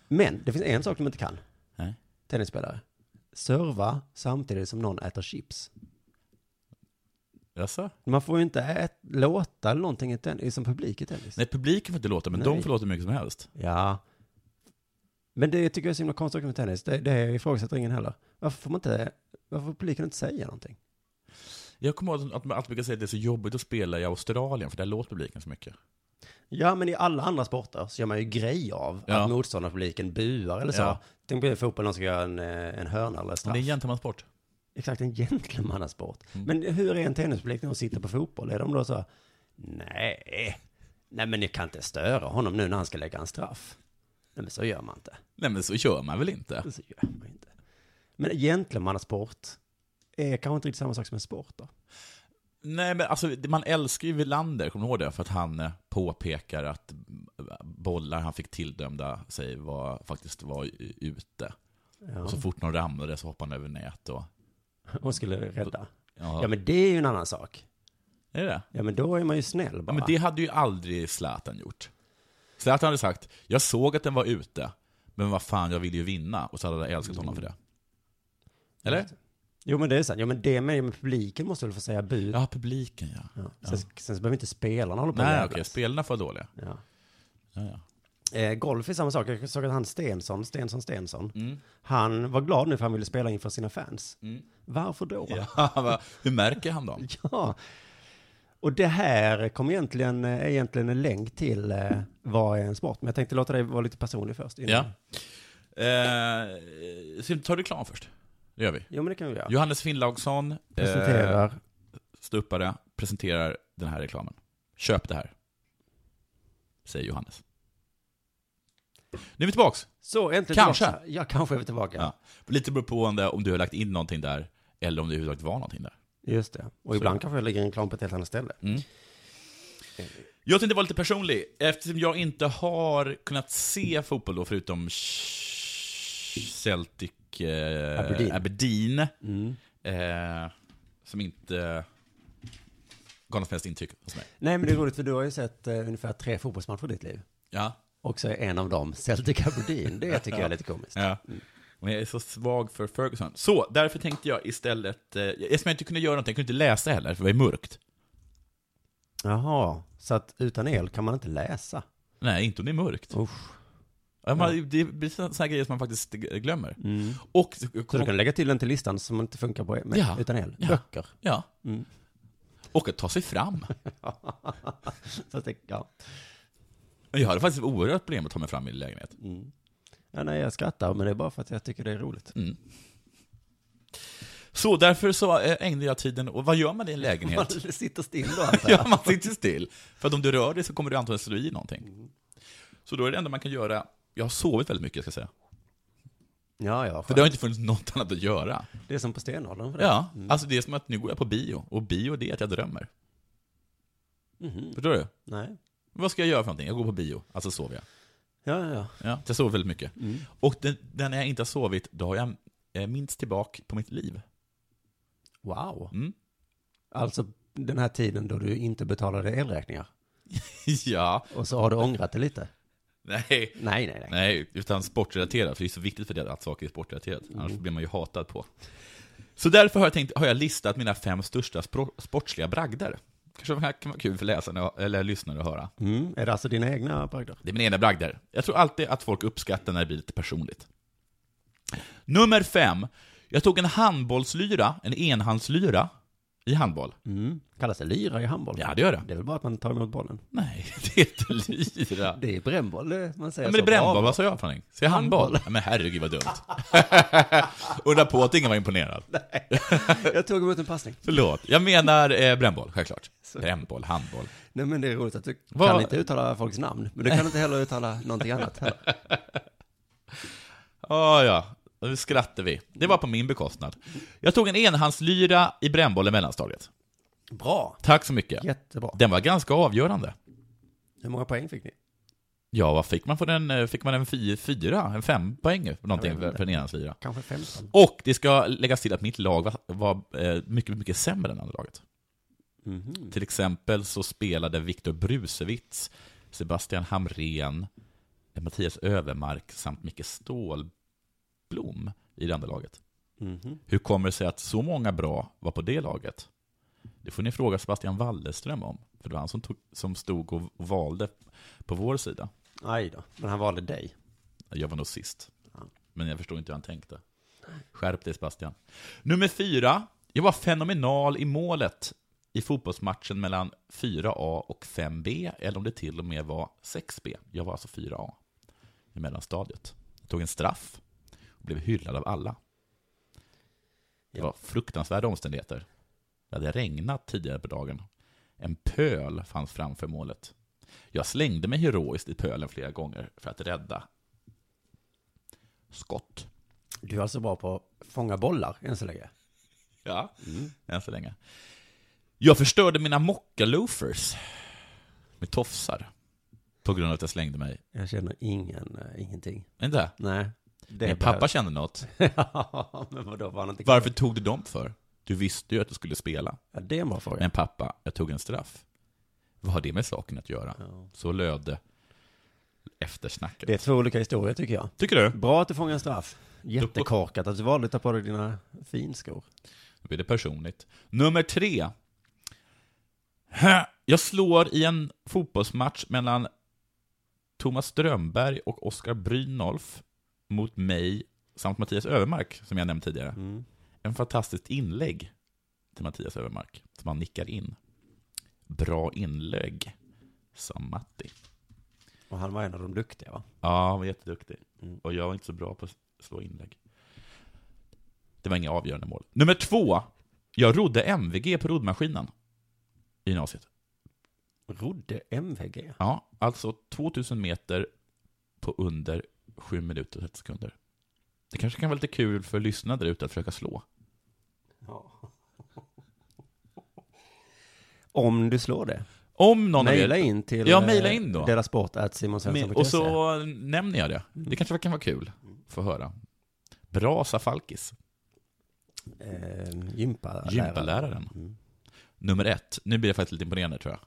[SPEAKER 4] Men det finns en sak de inte kan,
[SPEAKER 3] Nej.
[SPEAKER 4] tennisspelare. Serva samtidigt som någon äter chips.
[SPEAKER 3] Jaså?
[SPEAKER 4] Man får ju inte ät, låta eller någonting i tennis, som publik i tennis.
[SPEAKER 3] Nej, publiken får inte låta, men
[SPEAKER 4] Nej.
[SPEAKER 3] de får låta hur mycket som helst.
[SPEAKER 4] Ja. Men det tycker jag är så himla konstigt med tennis. Det, det ifrågasätter ingen heller. Varför får man inte, varför får publiken inte säga någonting?
[SPEAKER 3] Jag kommer ihåg att man alltid brukar säga att det är så jobbigt att spela i Australien, för där låter publiken så mycket.
[SPEAKER 4] Ja, men i alla andra sporter så gör man ju grej av
[SPEAKER 3] Ja.
[SPEAKER 4] att motståndarpubliken buar eller så.
[SPEAKER 3] Ja.
[SPEAKER 4] Tänk på i fotboll, någon ska göra en, eh, en hörna eller
[SPEAKER 3] Men
[SPEAKER 4] straff.
[SPEAKER 3] det är en gentlemansport.
[SPEAKER 4] Exakt, en gentlemannasport.
[SPEAKER 3] Mm.
[SPEAKER 4] Men hur är en tennispublik när de sitter på fotboll? Är de då så här, nej, nej men ni kan inte störa honom nu när han ska lägga en straff. Nej men så gör man inte.
[SPEAKER 3] Nej, men så gör man väl inte?
[SPEAKER 4] Så gör man inte. Men gentlemannasport är kanske inte riktigt samma sak som en sport då.
[SPEAKER 3] Nej, men alltså, det- man älskar ju Wilander, kommer du ihåg det? För att han eh, påpekar att bollar han fick tilldömda sig var, faktiskt var u- ute.
[SPEAKER 4] Ja.
[SPEAKER 3] Och så fort någon ramlade så hoppade han över nät och...
[SPEAKER 4] Och skulle rädda.
[SPEAKER 3] Ja,
[SPEAKER 4] Ja men det är ju en annan sak.
[SPEAKER 3] Är det det?
[SPEAKER 4] Ja men då är man ju snäll
[SPEAKER 3] Ja,
[SPEAKER 4] bara.
[SPEAKER 3] men det hade ju aldrig Zlatan gjort. Zlatan hade sagt, jag såg att den var ute, men vad fan, jag ville ju vinna. Och så hade jag älskat honom för det. Eller?
[SPEAKER 4] Jo men det är sant. Ja men det med, men publiken måste väl få säga bu.
[SPEAKER 3] Ja, publiken ja.
[SPEAKER 4] Ja. Sen, sen så behöver inte spelarna hålla på och
[SPEAKER 3] Nej, okej,
[SPEAKER 4] jävlas.
[SPEAKER 3] spelarna får vara dåliga.
[SPEAKER 4] Ja.
[SPEAKER 3] Ja, ja.
[SPEAKER 4] Eh, golf är samma sak. Jag såg att han Stensson, Stensson, Stensson,
[SPEAKER 3] Mm.
[SPEAKER 4] han var glad nu för han ville spela inför sina fans. Varför då? Ja.
[SPEAKER 3] Ja, va, hur märker han dem?
[SPEAKER 4] Och det här kom egentligen, eh, är egentligen en länk till eh, vad är en sport. Men jag tänkte låta dig vara lite personlig först. innan.
[SPEAKER 3] Ja. Eh, så tar du reklam först? Det gör vi.
[SPEAKER 4] Jo, men det kan vi göra.
[SPEAKER 3] Johannes Finnlaugsson, eh,
[SPEAKER 4] Presenterar.
[SPEAKER 3] ståuppare, presenterar den här reklamen. Köp det här. Säger Johannes. Nu är vi tillbaks!
[SPEAKER 4] Så, äntligen
[SPEAKER 3] kanske.
[SPEAKER 4] Tillbaka. Ja, kanske är vi tillbaka.
[SPEAKER 3] Ja. Lite beroende om du har lagt in någonting där, eller om det överhuvudtaget var någonting där.
[SPEAKER 4] Just det. Och ibland kanske jag lägger en reklam på ett helt annat ställe.
[SPEAKER 3] Jag tänkte vara lite personlig, eftersom jag inte har kunnat se fotboll då, förutom Ch- Celtic eh,
[SPEAKER 4] Aberdeen.
[SPEAKER 3] Aberdeen, eh, som inte gav något som helst intryck hos mig.
[SPEAKER 4] Nej, men det är roligt för du har ju sett eh, ungefär tre fotbollsmatcher i ditt liv.
[SPEAKER 3] Ja,
[SPEAKER 4] Och så är en av dem Celtic Aberdeen. Det tycker jag är lite komiskt.
[SPEAKER 3] ja. Men jag är så svag för Ferguson. Så, därför tänkte jag istället, eh, eftersom jag inte kunde göra någonting, jag kunde inte läsa heller, för det var ju mörkt.
[SPEAKER 4] Jaha, så att utan el kan man inte läsa?
[SPEAKER 3] Nej, inte om det är mörkt.
[SPEAKER 4] Usch.
[SPEAKER 3] Ja, Man, det blir sådana grejer som man faktiskt glömmer.
[SPEAKER 4] Mm.
[SPEAKER 3] Och,
[SPEAKER 4] Så du kan lägga till den till listan som inte funkar på med,
[SPEAKER 3] Ja.
[SPEAKER 4] utan el?
[SPEAKER 3] Ja.
[SPEAKER 4] Böcker.
[SPEAKER 3] Ja.
[SPEAKER 4] Mm.
[SPEAKER 3] Och att ta sig fram.
[SPEAKER 4] Så att det, ja.
[SPEAKER 3] Men Jag hade faktiskt oerhört problem att ta mig fram i min lägenhet.
[SPEAKER 4] ja, nej jag skrattar men det är bara för att jag tycker det är roligt.
[SPEAKER 3] Mm. Så därför så eh, ägnade jag tiden, och vad gör man i en
[SPEAKER 4] Man
[SPEAKER 3] lägenhet?
[SPEAKER 4] sitter still då antar
[SPEAKER 3] ja,
[SPEAKER 4] jag.
[SPEAKER 3] man sitter still. För att om du rör dig så kommer du antagligen slå i någonting. Så då är det enda man kan göra, jag har sovit väldigt mycket ska jag säga.
[SPEAKER 4] Ja, ja.
[SPEAKER 3] För
[SPEAKER 4] skönt.
[SPEAKER 3] det har inte funnits något annat att göra.
[SPEAKER 4] Det är som på stenåldern för det.
[SPEAKER 3] Ja, alltså det är som att nu går jag på bio, och bio det är att jag drömmer. Förstår du?
[SPEAKER 4] Nej.
[SPEAKER 3] Vad ska jag göra för någonting? Jag går på bio, alltså sover jag.
[SPEAKER 4] Ja, ja, ja.
[SPEAKER 3] Ja, jag sover väldigt mycket. Och den, den när jag inte har sovit, då har jag eh, minst tillbaka på mitt liv.
[SPEAKER 4] Wow.
[SPEAKER 3] Mm.
[SPEAKER 4] Alltså den här tiden då du inte betalade elräkningar.
[SPEAKER 3] ja,
[SPEAKER 4] Och så har du ångrat det lite.
[SPEAKER 3] nej.
[SPEAKER 4] Nej, nej, nej.
[SPEAKER 3] Nej, utan sportrelaterat, för det är så viktigt för det att saker är sportrelaterat,
[SPEAKER 4] Mm.
[SPEAKER 3] annars blir man ju hatad på. Så därför har jag, tänkt, har jag listat mina fem största spro- sportsliga bragder. Kanske kan vara kul för läsarna eller lyssnare att höra.
[SPEAKER 4] Mm. Är det alltså dina egna bragder?
[SPEAKER 3] Det är mina egna bragder. Jag tror alltid att folk uppskattar när det blir lite personligt. Nummer fem. Jag tog en handbollslyra, en enhandslyra, i handboll.
[SPEAKER 4] Mm. Kallas det lyra i handboll?
[SPEAKER 3] Ja, det gör det.
[SPEAKER 4] Det är väl bara att man tar emot bollen.
[SPEAKER 3] Nej, det är inte lyra.
[SPEAKER 4] Det är brännboll, det man säger
[SPEAKER 3] Ja, men det är
[SPEAKER 4] så.
[SPEAKER 3] brännboll, vad sa jag för någonting? Säger jag handboll?
[SPEAKER 4] Handboll.
[SPEAKER 3] Ja, men herregud vad dumt. Undra på att ingen var imponerad.
[SPEAKER 4] Jag tog emot en passning.
[SPEAKER 3] Förlåt, jag menar eh, brännboll, självklart. Brännboll, handboll.
[SPEAKER 4] Nej, men det är roligt att du
[SPEAKER 3] Vad-
[SPEAKER 4] kan inte uttala folks namn, men du kan inte heller uttala någonting annat heller.
[SPEAKER 3] Ah, ja, nu skrattar vi. Det var på min bekostnad. Jag tog en enhandslyra i brännboll i mellanstadiet.
[SPEAKER 4] Bra.
[SPEAKER 3] Tack så mycket.
[SPEAKER 4] Jättebra.
[SPEAKER 3] Den var ganska avgörande.
[SPEAKER 4] Hur många poäng fick ni?
[SPEAKER 3] Ja, vad fick man för den? eh, Fick man en fy- fyra, en fem poäng någonting för, för en enhandslyra?
[SPEAKER 4] Kanske 15.
[SPEAKER 3] Och det ska läggas till att mitt lag var, var eh, mycket, mycket sämre än andra laget.
[SPEAKER 4] Mhm.
[SPEAKER 3] Till exempel så spelade Viktor Brusewitz, Sebastian Hamrén, Mattias Övermark samt Micke Stålblom i det andra laget.
[SPEAKER 4] Mhm.
[SPEAKER 3] Hur kommer det sig att så många bra var på det laget? Det får ni fråga Sebastian Wallerström om, för det var han som, tog, som stod och och valde på vår sida.
[SPEAKER 4] Aj då, men han valde dig.
[SPEAKER 3] Jag var nog sist. Men jag förstod inte hur han tänkte. Skärp dig Sebastian. Nummer fyra. Jag var fenomenal i målet i fotbollsmatchen mellan 4A och 5B, eller om det till och med var 6B. Jag var alltså 4A i mellanstadiet. Jag tog en straff och blev hyllad av alla. Det
[SPEAKER 4] Ja.
[SPEAKER 3] var fruktansvärda omständigheter. Det hade regnat tidigare på dagen. En pöl fanns framför målet. Jag slängde mig heroiskt i pölen flera gånger för att rädda skott.
[SPEAKER 4] Du är alltså bra på att fånga bollar än så länge.
[SPEAKER 3] Ja, Mm. än så länge. Jag förstörde mina mockaloafers med tofsar. På grund av att jag slängde mig.
[SPEAKER 4] Jag känner ingen, eh, ingenting.
[SPEAKER 3] Inte det?
[SPEAKER 4] Nej. Det
[SPEAKER 3] Min pappa kände något.
[SPEAKER 4] ja, men vadå, var han inte
[SPEAKER 3] Varför tog du dem för? Du visste ju att du skulle spela.
[SPEAKER 4] Ja, det är en bra fråga.
[SPEAKER 3] Men pappa, jag tog en straff. Vad har det med saken att göra?
[SPEAKER 4] Ja.
[SPEAKER 3] Så löd eftersnacket.
[SPEAKER 4] Det är två olika historier tycker jag.
[SPEAKER 3] Tycker du?
[SPEAKER 4] Bra att du fångar en straff. Jättekorkat att du valde att ta på dig dina finskor.
[SPEAKER 3] Då blir det personligt. Nummer tre. Hä? Jag slår i en fotbollsmatch mellan Thomas Strömberg och Oskar Brynolf mot mig samt Mattias Övermark, som jag nämnde tidigare.
[SPEAKER 4] Mm.
[SPEAKER 3] En fantastiskt inlägg till Mattias Övermark, som han nickar in. Bra inlägg, sa Matti.
[SPEAKER 4] Och han var en av de duktiga va?
[SPEAKER 3] Ja, han var jätteduktig. Och jag var inte så bra på att slå inlägg. Det var inga avgörande mål. Nummer två. Jag rodde MVG på roddmaskinen i gymnasiet.
[SPEAKER 4] Rodde MVG.
[SPEAKER 3] Ja, alltså 2000 meter på under 7 minuter och 30 sekunder. Det kanske kan vara lite kul för lyssnare där ute att försöka slå.
[SPEAKER 4] Om du slår det.
[SPEAKER 3] Om någon av er-
[SPEAKER 4] Mejla in till
[SPEAKER 3] Ja, mejla in då.
[SPEAKER 4] Dela sport at simonsvensson.se.
[SPEAKER 3] Men, och så nämner jag det. Det kanske kan vara kul att få höra. Bra Safalkis.
[SPEAKER 4] Eh, gympalärare. Mm.
[SPEAKER 3] Gympaläraren. Nummer ett. Nu blir jag faktiskt lite imponerande tror jag.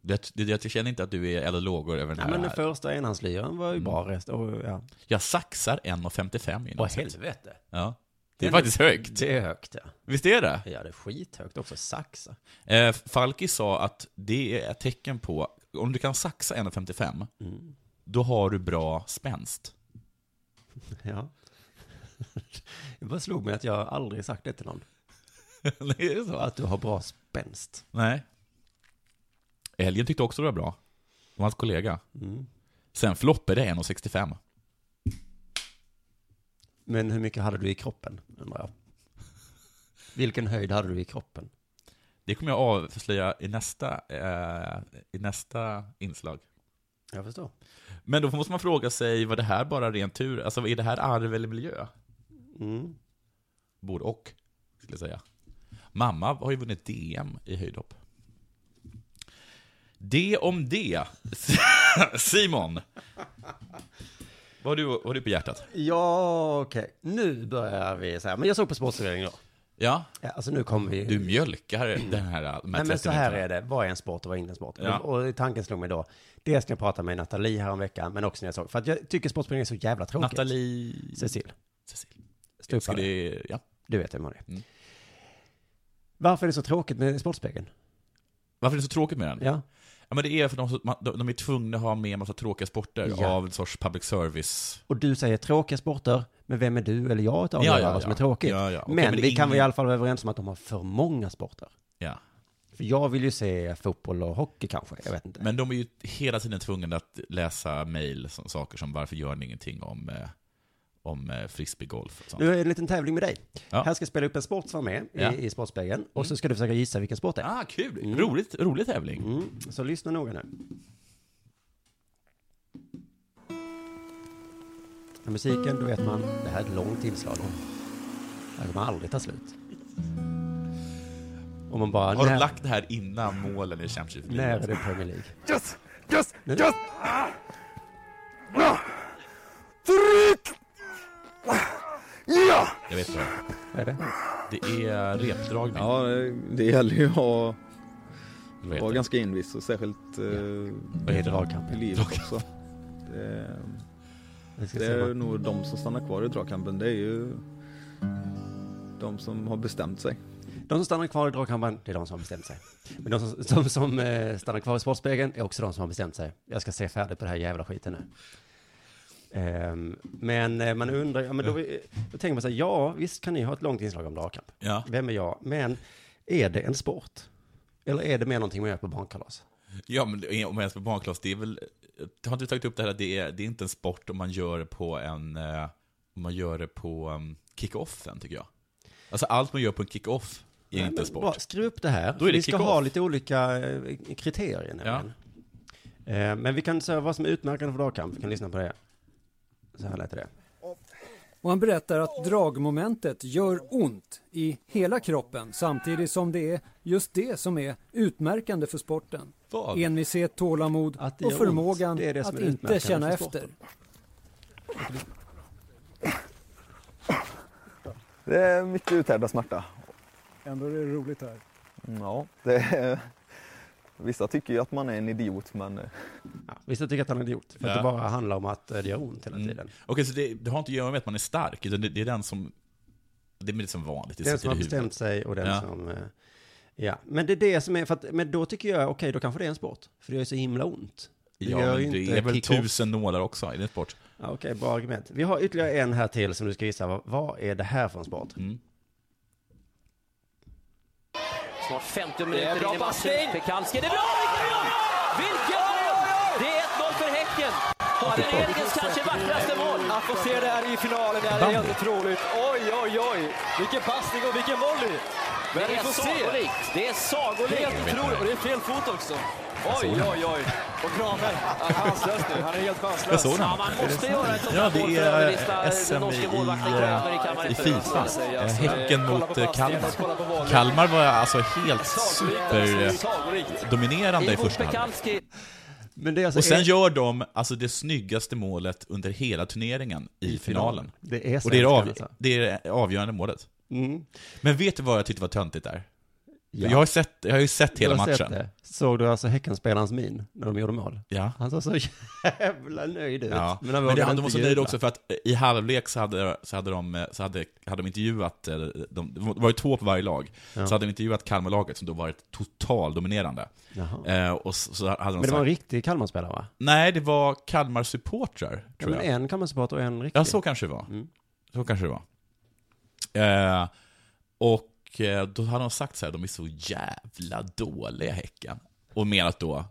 [SPEAKER 3] Det, det, jag känner inte att du är eller lågor över den
[SPEAKER 4] Ja,
[SPEAKER 3] här.
[SPEAKER 4] men den första enhandslyran var ju bra rest. Och, ja.
[SPEAKER 3] jag saxar 1,55 Mm. i
[SPEAKER 4] Åh
[SPEAKER 3] något sätt.
[SPEAKER 4] helvete.
[SPEAKER 3] ja. Det är
[SPEAKER 4] Den-
[SPEAKER 3] faktiskt högt.
[SPEAKER 4] Det är högt ja.
[SPEAKER 3] Visst är det?
[SPEAKER 4] Ja det är skithögt också. Saxa.
[SPEAKER 3] Eh, Falki sa att det är ett tecken på, om du kan saxa 1,55,
[SPEAKER 4] Mm.
[SPEAKER 3] då har du bra spänst.
[SPEAKER 4] Ja. Det bara slog mig att jag aldrig sagt det till någon.
[SPEAKER 3] Nej, är det så?
[SPEAKER 4] Att du har bra spänst.
[SPEAKER 3] Nej. Älgen tyckte också det var bra. Det var hans kollega. Sen floppade det 1,65.
[SPEAKER 4] Men hur mycket hade du i kroppen, undrar jag. Vilken höjd hade du i kroppen?
[SPEAKER 3] Det kommer jag avslöja i nästa, eh, i nästa inslag.
[SPEAKER 4] Jag förstår.
[SPEAKER 3] Men då måste man fråga sig, var det här bara ren tur? Alltså, är det här arv eller miljö?
[SPEAKER 4] Mm.
[SPEAKER 3] Både och, skulle jag säga. Mamma har ju vunnit DM i höjdhopp. Det om det. Simon. Vad har du, vad har du på hjärtat?
[SPEAKER 4] Ja, okej. Nu börjar vi så här. Men jag såg på sportservering då.
[SPEAKER 3] Ja,
[SPEAKER 4] Ja, alltså nu kommer vi...
[SPEAKER 3] du mjölkar den här, de här
[SPEAKER 4] Nej, men
[SPEAKER 3] 30
[SPEAKER 4] så här
[SPEAKER 3] minuterna.
[SPEAKER 4] är det. Vad är en sport och vad är inte en sport?
[SPEAKER 3] Ja.
[SPEAKER 4] Och, och tanken slog mig då. Dels när jag pratade med Nathalie häromveckan, men också när jag såg. För att jag tycker sportspelning är så jävla tråkigt.
[SPEAKER 3] Nathalie...
[SPEAKER 4] Cecil.
[SPEAKER 3] Cecil. Ska
[SPEAKER 4] Stupare.
[SPEAKER 3] det... Ja.
[SPEAKER 4] Du vet vem hon är.
[SPEAKER 3] Mm.
[SPEAKER 4] Varför är det så tråkigt med Sportspegeln?
[SPEAKER 3] Varför är det så tråkigt med den? Ja.
[SPEAKER 4] Ja.
[SPEAKER 3] men det är för att de, de, de är tvungna att ha med en massa tråkiga sporter
[SPEAKER 4] Ja.
[SPEAKER 3] av en sorts public service.
[SPEAKER 4] Och du säger tråkiga sporter, men vem är du eller jag att
[SPEAKER 3] Ja,
[SPEAKER 4] avgöra
[SPEAKER 3] ja,
[SPEAKER 4] vad som
[SPEAKER 3] ja.
[SPEAKER 4] är tråkigt?
[SPEAKER 3] Ja, ja. Okej,
[SPEAKER 4] men,
[SPEAKER 3] men det
[SPEAKER 4] vi
[SPEAKER 3] är
[SPEAKER 4] kan väl i
[SPEAKER 3] ingen-
[SPEAKER 4] alla fall vara överens om att de har för många sporter.
[SPEAKER 3] Ja.
[SPEAKER 4] För jag vill ju se fotboll och hockey kanske, jag vet inte.
[SPEAKER 3] Men de är ju hela tiden tvungna att läsa mejl, som- saker som varför gör ni ingenting om, eh, om eh, frisbeegolf och sånt.
[SPEAKER 4] Nu är det en liten tävling med dig.
[SPEAKER 3] Ja.
[SPEAKER 4] Här ska jag spela upp en sport som var med
[SPEAKER 3] Ja. Mm.
[SPEAKER 4] i, i Sportspegeln. Och så ska du försöka gissa vilken sport det är.
[SPEAKER 3] Ah, kul! Roligt, rolig tävling.
[SPEAKER 4] Mm. Så lyssna noga nu. Med musiken, då vet man, det här är ett långt tillslag. Det här kommer aldrig ta slut. Om man bara,
[SPEAKER 3] Har de
[SPEAKER 4] när,
[SPEAKER 3] lagt det här innan målen i Championship
[SPEAKER 4] när
[SPEAKER 3] League?
[SPEAKER 4] är det Premier League?
[SPEAKER 1] Just, just,
[SPEAKER 4] Nu.
[SPEAKER 1] just. Tryck! Ja!
[SPEAKER 3] Jag vet inte.
[SPEAKER 4] Vad är det?
[SPEAKER 3] Det är repdragning.
[SPEAKER 7] Ja, det gäller ju att ha-
[SPEAKER 3] Eller vad heter
[SPEAKER 7] vara
[SPEAKER 3] det?
[SPEAKER 7] ganska envis och särskilt eh,
[SPEAKER 4] Vad är dragkamp?
[SPEAKER 7] i livet också. Det,
[SPEAKER 4] Jag ska
[SPEAKER 7] det
[SPEAKER 4] se
[SPEAKER 7] är
[SPEAKER 4] vad-
[SPEAKER 7] nog de som stannar kvar i dragkampen, det är ju de som har bestämt sig.
[SPEAKER 4] De som stannar kvar i dragkampen, det är de som har bestämt sig. Men de som, som, som eh, stannar kvar i Sportspegeln är också de som har bestämt sig. Jag ska se färdigt på det här jävla skiten nu. Ehm, men eh, man undrar, ja, men då, eh, då tänker man så här, ja, visst kan ni ha ett långt inslag om dragkamp.
[SPEAKER 3] Ja.
[SPEAKER 4] Vem är jag? Men är det en sport? Eller är det mer någonting man gör på barnkalas?
[SPEAKER 3] Ja, men det är- om jag ens på barnklass, det är väl... Har inte du tagit upp det här att det är, det är inte en sport om man gör det på en... eh, Om man gör det på um, kick-offen, tycker jag. Alltså allt man gör på en kick-off är
[SPEAKER 4] Nej,
[SPEAKER 3] inte
[SPEAKER 4] men
[SPEAKER 3] en sport.
[SPEAKER 4] Bra, skruv upp det här.
[SPEAKER 3] Då är det
[SPEAKER 4] vi ska
[SPEAKER 3] kick-off.
[SPEAKER 4] ha lite olika eh, kriterier nämligen. Eh, Men vi kan säga vad som är utmärkande för dragkamp. Vi kan lyssna på det. Så här lät det.
[SPEAKER 8] Och han berättar att dragmomentet gör ont i hela kroppen samtidigt som det är just det som är utmärkande för sporten.
[SPEAKER 3] Vad?
[SPEAKER 8] Envishet, tålamod
[SPEAKER 4] Att det
[SPEAKER 8] och
[SPEAKER 4] gör
[SPEAKER 8] förmågan
[SPEAKER 4] ont, det är det som
[SPEAKER 8] att
[SPEAKER 4] är utmärkande
[SPEAKER 8] inte känna
[SPEAKER 4] för
[SPEAKER 8] efter.
[SPEAKER 4] sporten.
[SPEAKER 1] Det är mycket uthärdad smärta.
[SPEAKER 8] Ändå är det roligt här.
[SPEAKER 1] Ja, det är... Vissa tycker ju att man är en idiot, men eh,
[SPEAKER 4] Ja, vissa tycker att han är en idiot, för
[SPEAKER 3] Ja.
[SPEAKER 4] att det bara handlar om att eh, det gör ont hela
[SPEAKER 3] Mm.
[SPEAKER 4] tiden.
[SPEAKER 3] Okej, så det, det har inte att göra med att man är stark, utan det, det är den som... Det är lite som vanligt, det
[SPEAKER 4] Den
[SPEAKER 3] sitter
[SPEAKER 4] som har
[SPEAKER 3] i huvudet.
[SPEAKER 4] bestämt sig och den
[SPEAKER 3] Ja.
[SPEAKER 4] som... eh, Ja, men det är det som är, för att, men då tycker jag, okej, då kanske det är en sport. För det gör ju så himla ont. Det
[SPEAKER 3] Ja,
[SPEAKER 4] gör
[SPEAKER 3] men
[SPEAKER 4] ju
[SPEAKER 3] det
[SPEAKER 4] inte
[SPEAKER 3] är väl
[SPEAKER 4] kick-off.
[SPEAKER 3] tusen nålar också, är det en sport?
[SPEAKER 4] Ja, okej, bra argument. Vi har ytterligare en här till som du ska gissa, vad, vad är det här för en sport?
[SPEAKER 3] Mm.
[SPEAKER 9] Snart 50 minuter in i matchen. Pekanski, det är bra! Vilken mål! Det är 1-0 för Häcken. Och det är Erikens kanske vackraste mål. Att få se det här i finalen är helt otroligt. Oj, oj, oj! Vilken passning och vilken volley! Men det är sagolikt. Det är sagolikt. Helt otroligt. Och det är fel fot också. Oj, oj, oj. Och Kramer, han är chanslös nu. Han är helt
[SPEAKER 3] Jag
[SPEAKER 9] chanslös.
[SPEAKER 3] såg den.
[SPEAKER 9] Ja, man måste göra ett sånt
[SPEAKER 3] Ja,
[SPEAKER 9] här
[SPEAKER 3] det
[SPEAKER 9] mål för
[SPEAKER 3] är, eh,
[SPEAKER 9] att överlista
[SPEAKER 3] SM
[SPEAKER 9] den norske
[SPEAKER 3] i,
[SPEAKER 9] målvakten
[SPEAKER 3] eh,
[SPEAKER 9] Kramer i kammaren.
[SPEAKER 3] i Fifa. Eh, Häcken mot eh, Kalmar. Kalmar var alltså helt superdominerande i första halvlek.
[SPEAKER 9] Pekanski.
[SPEAKER 4] Men det är alltså...
[SPEAKER 3] Och sen
[SPEAKER 4] är-
[SPEAKER 3] gör de alltså det snyggaste målet under hela turneringen i finalen.
[SPEAKER 4] Det är
[SPEAKER 3] Och det är det,
[SPEAKER 4] svenskan,
[SPEAKER 3] av,
[SPEAKER 4] alltså.
[SPEAKER 3] det, är det avgörande målet.
[SPEAKER 4] Mm.
[SPEAKER 3] Men vet du vad jag tyckte var töntigt där?
[SPEAKER 4] Ja.
[SPEAKER 3] Jag, har sett, jag har ju sett hela
[SPEAKER 4] Jag har
[SPEAKER 3] matchen.
[SPEAKER 4] sett det. Såg du alltså Häckenspelarens min när de gjorde mål?
[SPEAKER 3] Ja.
[SPEAKER 4] Han såg så jävla nöjd ut.
[SPEAKER 3] Ja. Men,
[SPEAKER 4] han
[SPEAKER 3] det,
[SPEAKER 4] vågade
[SPEAKER 3] de
[SPEAKER 4] inte
[SPEAKER 3] var så nöjda
[SPEAKER 4] jubla.
[SPEAKER 3] också för att eh, i halvlek så hade, så hade, de, eh, så hade, hade de intervjuat, eh, de, det var ju två på varje lag,
[SPEAKER 4] Ja.
[SPEAKER 3] så hade de intervjuat Kalmarlaget som då varit totaldominerande.
[SPEAKER 4] Jaha.
[SPEAKER 3] Eh, och så, så hade de
[SPEAKER 4] Men det
[SPEAKER 3] sagt,
[SPEAKER 4] var en riktig Kalmarspelare va?
[SPEAKER 3] nej det var Kalmar-supportrar,
[SPEAKER 4] Ja,
[SPEAKER 3] tror
[SPEAKER 4] men
[SPEAKER 3] jag.
[SPEAKER 4] en Kalmarsupporter och en riktig.
[SPEAKER 3] Ja, så kanske det var.
[SPEAKER 4] Mm.
[SPEAKER 3] Så kanske det var. Eh, och eh, då hade de sagt så här, de är så jävla dåliga Häcken. Och menat då,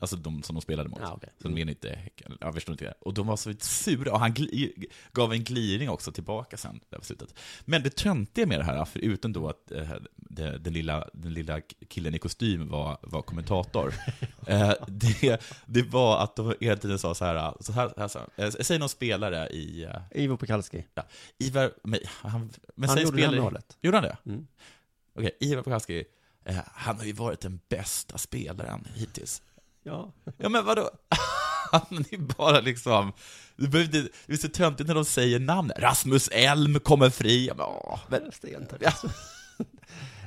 [SPEAKER 3] alltså de som de spelade mot.
[SPEAKER 4] Ja, okej.
[SPEAKER 3] Så de menar inte Häcken, jag förstår inte det. Och de var så sura, och han gli- gav en gliring också tillbaka sen, där på slutet. Men det töntiga med det här, förutom då att eh, det, den, lilla, den lilla killen i kostym var, var kommentator, eh, det, det var att de hela tiden sa så här, så här, här, så här eh, säg någon spelare i... eh,
[SPEAKER 4] Ivo Pekalski.
[SPEAKER 3] Ja. Ivar, men, han, men
[SPEAKER 4] Han
[SPEAKER 3] säg
[SPEAKER 4] gjorde det
[SPEAKER 3] spelare-
[SPEAKER 4] här målet.
[SPEAKER 3] Gjorde han det?
[SPEAKER 4] Mm.
[SPEAKER 3] Okej, Ivar Pekalski, Eh, han har ju varit den bästa spelaren hittills.
[SPEAKER 4] Ja.
[SPEAKER 3] Ja, men vadå? Han är bara liksom... Du behöver inte, det är så töntigt när de säger namn. Rasmus Elm kommer fri. Ja, men, åh, men,
[SPEAKER 4] Stentag.
[SPEAKER 3] ja.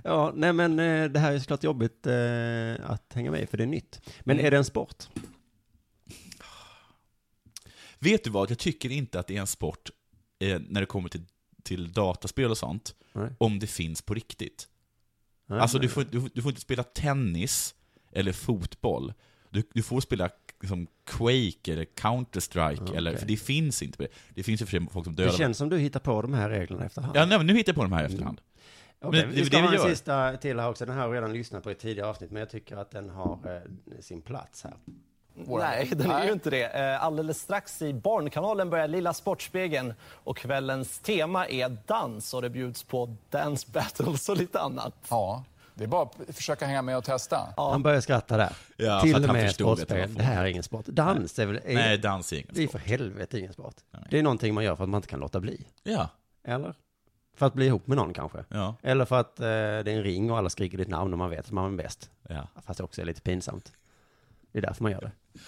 [SPEAKER 4] Ja, nej men eh, det här är såklart jobbigt eh, att hänga med i, för det är nytt. Men
[SPEAKER 3] Mm.
[SPEAKER 4] är det en sport?
[SPEAKER 3] Vet du vad, jag tycker inte att det är en sport eh, när det kommer till, till dataspel och sånt,
[SPEAKER 4] Nej.
[SPEAKER 3] om det finns på riktigt.
[SPEAKER 4] Nej,
[SPEAKER 3] alltså du
[SPEAKER 4] nej.
[SPEAKER 3] får, du, får- du får inte spela tennis eller fotboll. Du, du får spela liksom, Quake eller Counter-Strike,
[SPEAKER 4] Ja,
[SPEAKER 3] eller,
[SPEAKER 4] okej.
[SPEAKER 3] för det finns inte på det. Det finns ju för sig folk som
[SPEAKER 4] Det
[SPEAKER 3] dödar
[SPEAKER 4] känns som du hittar på de här reglerna efterhand.
[SPEAKER 3] Ja, nej, men nu hittar jag på de här i efterhand.
[SPEAKER 4] Okej,
[SPEAKER 3] men det är
[SPEAKER 4] vi ska
[SPEAKER 3] det vi
[SPEAKER 4] ha en
[SPEAKER 3] gör.
[SPEAKER 4] sista till här också. Den här har jag redan lyssnat på i ett tidigare avsnitt, men jag tycker att den har eh, sin plats här.
[SPEAKER 10] Nej, den är ju inte det. Eh, Alldeles strax i Barnkanalen börjar Lilla Sportspegeln och kvällens tema är dans och det bjuds på dance battles och lite annat.
[SPEAKER 6] Ja, det är bara att försöka hänga med och testa.
[SPEAKER 4] Han börjar skratta där.
[SPEAKER 3] Ja, för
[SPEAKER 4] till
[SPEAKER 3] att
[SPEAKER 4] och
[SPEAKER 3] han
[SPEAKER 4] med
[SPEAKER 3] förstod att det var
[SPEAKER 4] sportspel.
[SPEAKER 3] fotboll.
[SPEAKER 4] Det här är ingen sport. Dans är väl... Är,
[SPEAKER 3] Nej, dans är ingen
[SPEAKER 4] det är
[SPEAKER 3] sport.
[SPEAKER 4] för helvete ingen sport. Det är någonting man gör för att man inte kan låta bli.
[SPEAKER 3] Ja,
[SPEAKER 4] Eller? För att bli ihop med någon kanske.
[SPEAKER 3] ja,
[SPEAKER 4] Eller för att eh, det är en ring och alla skriker ditt namn och man vet att man är bäst.
[SPEAKER 3] ja.
[SPEAKER 4] Fast det också är lite pinsamt. Det är därför man gör det.
[SPEAKER 3] Man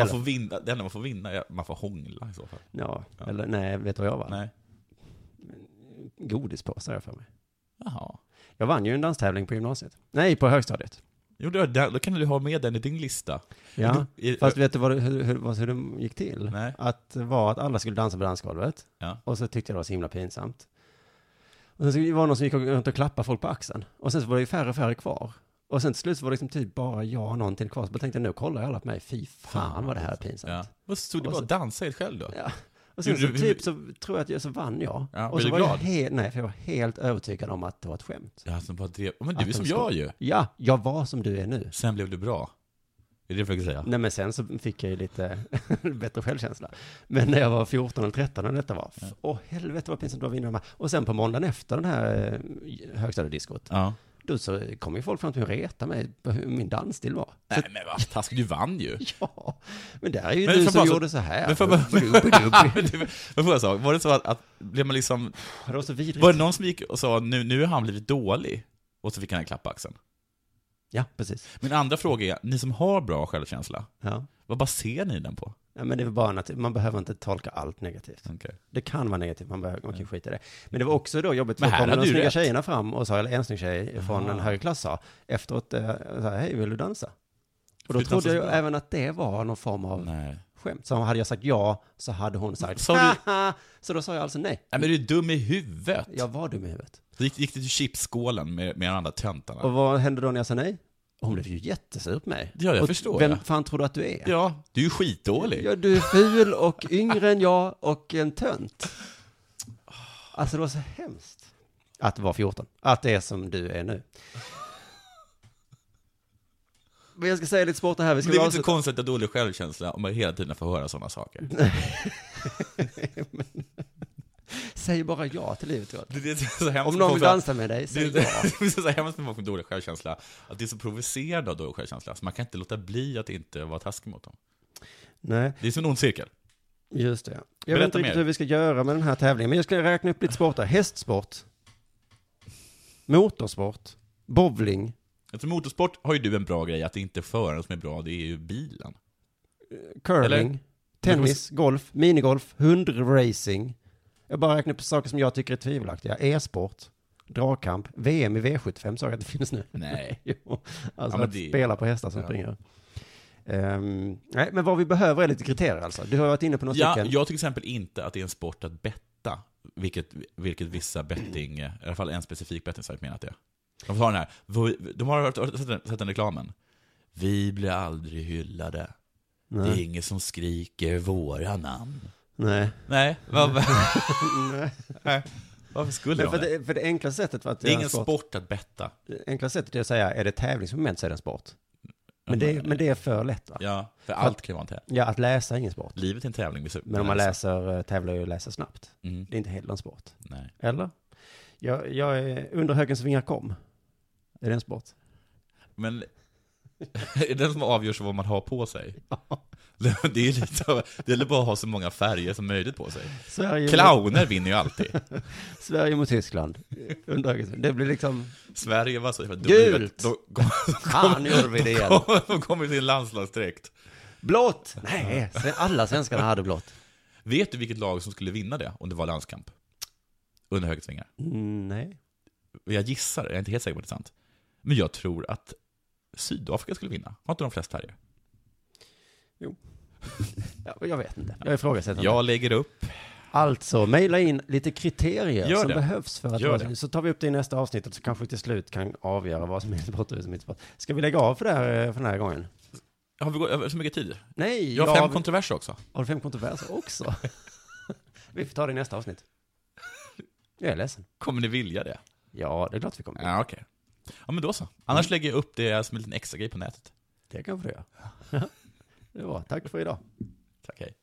[SPEAKER 4] Eller,
[SPEAKER 3] får vinna, det enda man får vinna är att man får hångla i så fall.
[SPEAKER 4] ja, eller nej, vet du vad jag vann?
[SPEAKER 3] Nej.
[SPEAKER 4] Godispåsar har jag för mig.
[SPEAKER 3] Jaha.
[SPEAKER 4] Jag vann ju en danstävling på gymnasiet. Nej, på högstadiet.
[SPEAKER 3] Jo, då, då kan du ha med den i din lista.
[SPEAKER 4] Ja,
[SPEAKER 3] I-
[SPEAKER 4] fast vet du vad, det- hur, hur, vad- hur det gick till?
[SPEAKER 3] Nej.
[SPEAKER 4] Att det var att alla skulle dansa på dansgolvet.
[SPEAKER 3] Ja.
[SPEAKER 4] Och så tyckte jag det var så himla pinsamt. Och sen så var det någon som gick runt och klappade folk på axeln. Och sen så var det ju färre och färre kvar. Och sen till slut så var det liksom typ bara jag och någon till kvar. Så jag tänkte jag, nu kollar alla på mig. Fy fan vad det här är pinsamt.
[SPEAKER 3] Ja. Vad stod det
[SPEAKER 4] Och
[SPEAKER 3] bara
[SPEAKER 4] så-
[SPEAKER 3] att dansa helt själv då?
[SPEAKER 4] Ja. Och sen
[SPEAKER 3] alltså. Gjorde
[SPEAKER 4] så
[SPEAKER 3] du-
[SPEAKER 4] typ så tror jag att jag så vann jag.
[SPEAKER 3] Ja,
[SPEAKER 4] och
[SPEAKER 3] blev
[SPEAKER 4] så
[SPEAKER 3] du
[SPEAKER 4] var
[SPEAKER 3] glad?
[SPEAKER 4] jag helt, nej för jag var helt övertygad om att det var ett skämt.
[SPEAKER 3] Ja, som bara drev. Men du är
[SPEAKER 4] Att
[SPEAKER 3] som
[SPEAKER 4] de ska-
[SPEAKER 3] jag ju.
[SPEAKER 4] Ja, jag var som du är nu.
[SPEAKER 3] Sen blev du bra. Är det det jag försöker säga?
[SPEAKER 4] Nej men sen så fick jag ju lite bättre självkänsla. Men när jag var 14 eller 13 när detta var, f- åh helvete vad pinsamt det var att vinna de här. Och sen på måndagen efter den här eh, högstadiediskot,
[SPEAKER 3] Ja.
[SPEAKER 4] då så kom ju folk fram till mig och reta mig på hur min dansstil var.
[SPEAKER 3] Nej men vad taskigt, du vann ju.
[SPEAKER 4] Ja, men där är ju
[SPEAKER 3] Men
[SPEAKER 4] du
[SPEAKER 3] för
[SPEAKER 4] som
[SPEAKER 3] fan så-
[SPEAKER 4] gjorde så här.
[SPEAKER 3] Men får jag bara- Men du, men får jag säga, var det så att, att blev man liksom,
[SPEAKER 4] Det var så vidrigt.
[SPEAKER 3] var det någon som gick och sa nu, nu har han blivit dålig? Och så fick han en klapp på axeln.
[SPEAKER 4] Ja, precis.
[SPEAKER 3] Min andra fråga är, ni som har bra självkänsla,
[SPEAKER 4] Ja.
[SPEAKER 3] vad baserar ni den på?
[SPEAKER 4] Ja, men det var bara att man behöver inte tolka allt negativt.
[SPEAKER 3] Okej.
[SPEAKER 4] Det kan vara negativt, man, behöver, man kan skita i det. Men det var också då jobbigt, för
[SPEAKER 3] Men
[SPEAKER 4] då
[SPEAKER 3] här
[SPEAKER 4] kom de
[SPEAKER 3] hade du
[SPEAKER 4] snygga
[SPEAKER 3] rätt. Ah.
[SPEAKER 4] tjejerna fram och sa, eller en snygg tjej från
[SPEAKER 3] Aha.
[SPEAKER 4] en högre klass sa, efteråt, eh, så här, hej, vill du dansa? Och då
[SPEAKER 3] du dansa
[SPEAKER 4] trodde jag
[SPEAKER 3] så
[SPEAKER 4] ju
[SPEAKER 3] bra?
[SPEAKER 4] även att det var någon form av
[SPEAKER 3] Nej.
[SPEAKER 4] skämt. Så hade jag sagt ja, så hade hon sagt,
[SPEAKER 3] Sa du-
[SPEAKER 4] haha! Så då sa jag alltså nej.
[SPEAKER 3] Nej men du är dum i huvudet.
[SPEAKER 4] Jag var dum i huvudet.
[SPEAKER 3] Så gick, gick det till chipsskålen med, med de andra töntarna.
[SPEAKER 4] Och vad hände då när jag sa nej? Hon blev ju jättesur på mig.
[SPEAKER 3] Ja, jag
[SPEAKER 4] och
[SPEAKER 3] förstår
[SPEAKER 4] Vem
[SPEAKER 3] det.
[SPEAKER 4] fan tror du att du är?
[SPEAKER 3] Ja, du är ju skitdålig.
[SPEAKER 4] Ja, du är ful och yngre än jag och en tönt. Alltså det var så hemskt. Att vara 14. Att det är som du är nu. Men jag ska säga lite sport här. Vi
[SPEAKER 3] Det
[SPEAKER 4] ska
[SPEAKER 3] är väl
[SPEAKER 4] väl
[SPEAKER 3] inte så
[SPEAKER 4] avsluta-
[SPEAKER 3] konstigt att ha dålig självkänsla om man hela tiden får höra sådana saker.
[SPEAKER 4] Säg bara ja till livet. Johan.
[SPEAKER 3] Det det är så hemskt
[SPEAKER 4] Om
[SPEAKER 3] med
[SPEAKER 4] någon
[SPEAKER 3] folk
[SPEAKER 4] vill
[SPEAKER 3] som-
[SPEAKER 4] dansa med dig,
[SPEAKER 3] Det,
[SPEAKER 4] säg
[SPEAKER 3] det
[SPEAKER 4] ja.
[SPEAKER 3] är så hemskt med folk med dålig självkänsla, att det är så provocerande av dålig självkänsla, så man kan inte låta bli att inte vara taskig mot dem.
[SPEAKER 4] Nej,
[SPEAKER 3] Det är som en ond cirkel.
[SPEAKER 4] just det. Jag
[SPEAKER 3] Berätta
[SPEAKER 4] vet inte riktigt
[SPEAKER 3] mer.
[SPEAKER 4] hur vi ska göra med den här tävlingen, men jag ska räkna upp lite sporter. Hästsport. Motorsport. Bowling.
[SPEAKER 3] Eftersom motorsport har ju du en bra grej, att det inte är föraren som är bra, det är ju bilen.
[SPEAKER 4] curling,
[SPEAKER 3] Eller?
[SPEAKER 4] tennis, golf, minigolf, hundracing. Jag bara räknar upp saker som jag tycker är tvivelaktiga. E-sport, dragkamp, VM i V75 sa jag att det finns nu.
[SPEAKER 3] Nej.
[SPEAKER 4] jo,
[SPEAKER 3] Ja,
[SPEAKER 4] alltså
[SPEAKER 3] men
[SPEAKER 4] att
[SPEAKER 3] det-
[SPEAKER 4] spela på hästar som
[SPEAKER 3] Ja.
[SPEAKER 4] springer. Ehm, nej, men vad vi behöver är lite kriterier alltså. Du har varit inne på några
[SPEAKER 3] Ja,
[SPEAKER 4] stycken.
[SPEAKER 3] jag till exempel inte att det är en sport att betta, vilket, vilket vissa betting, i alla fall en specifik bettingsajt menar att det är. De har den här, de har hört- sett den, sett den reklamen. Vi blir aldrig hyllade, det är
[SPEAKER 4] Nej.
[SPEAKER 3] ingen som skriker våra namn.
[SPEAKER 4] nej.
[SPEAKER 3] Nej, vad,
[SPEAKER 4] nej.
[SPEAKER 3] varför skulle
[SPEAKER 4] Men
[SPEAKER 3] de
[SPEAKER 4] för,
[SPEAKER 3] det?
[SPEAKER 4] det, för det enkla sättet för att
[SPEAKER 3] Det är
[SPEAKER 4] göra
[SPEAKER 3] ingen
[SPEAKER 4] en sport,
[SPEAKER 3] sport att betta.
[SPEAKER 4] Det enkla sättet är att säga, är det tävlingsmoment så är det en sport. Men det, men det är för lätt va? Ja,
[SPEAKER 3] Mm. Ja, för allt kan ju vara en tävling.
[SPEAKER 4] att läsa är ingen sport.
[SPEAKER 3] Livet är en tävling. visst-
[SPEAKER 4] Men om man läser, eh, tävlar ju och läser snabbt.
[SPEAKER 3] Mm,
[SPEAKER 4] Det är inte heller en sport.
[SPEAKER 3] nej.
[SPEAKER 4] Eller? Jag, jag är under högens vingar kom. Är det en sport?
[SPEAKER 3] Men är det den som avgörs av vad man har på sig? Det är ju lite av, det gäller bara att ha så många färger som möjligt på sig.
[SPEAKER 4] Sverige-
[SPEAKER 3] Clowner vinner ju alltid.
[SPEAKER 4] Sverige mot Tyskland. Undrar- Det blir liksom...
[SPEAKER 3] Sverige var så jävla dumt.
[SPEAKER 4] Gult!
[SPEAKER 3] De kom- de
[SPEAKER 4] Fan, nu gjorde vi det igen.
[SPEAKER 3] kom- De kom i sin landslagsdräkt.
[SPEAKER 4] Blått! Nej, sve- alla svenskarna hade blått.
[SPEAKER 3] Vet du vilket lag som skulle vinna det om det var landskamp? Under högersvingar.
[SPEAKER 4] Mm, Nej.
[SPEAKER 3] Jag gissar, jag är inte helt säker på att det är sant. Men jag tror att Sydafrika skulle vinna. Har inte de flest färger?
[SPEAKER 4] Ja, Jag vet inte. Jag ifrågasätter inte.
[SPEAKER 3] Jag lägger upp.
[SPEAKER 4] Alltså, mejla in lite kriterier
[SPEAKER 3] Gör
[SPEAKER 4] som
[SPEAKER 3] det.
[SPEAKER 4] behövs för att
[SPEAKER 3] Gör
[SPEAKER 4] vara
[SPEAKER 3] det.
[SPEAKER 4] det. Så tar vi upp det i nästa avsnitt och så kanske vi till slut kan avgöra vad som är sport och vad som inte är sport. Ska vi lägga av för, det här, eh, för den här gången?
[SPEAKER 3] Har vi gått över så mycket tid?
[SPEAKER 4] Nej,
[SPEAKER 3] Jag har fem
[SPEAKER 4] vi-
[SPEAKER 3] kontroverser också.
[SPEAKER 4] har du fem kontroverser också? vi får ta det i nästa avsnitt. Jag är ledsen.
[SPEAKER 3] Kommer ni vilja det?
[SPEAKER 4] Ja, det är klart vi kommer.
[SPEAKER 3] Ja, okej. Mm. Ja, men då så. Annars lägger jag upp det som en liten extra grej på nätet.
[SPEAKER 4] Det kan vi göra. Det var. Tack för idag.
[SPEAKER 3] Tack, hej.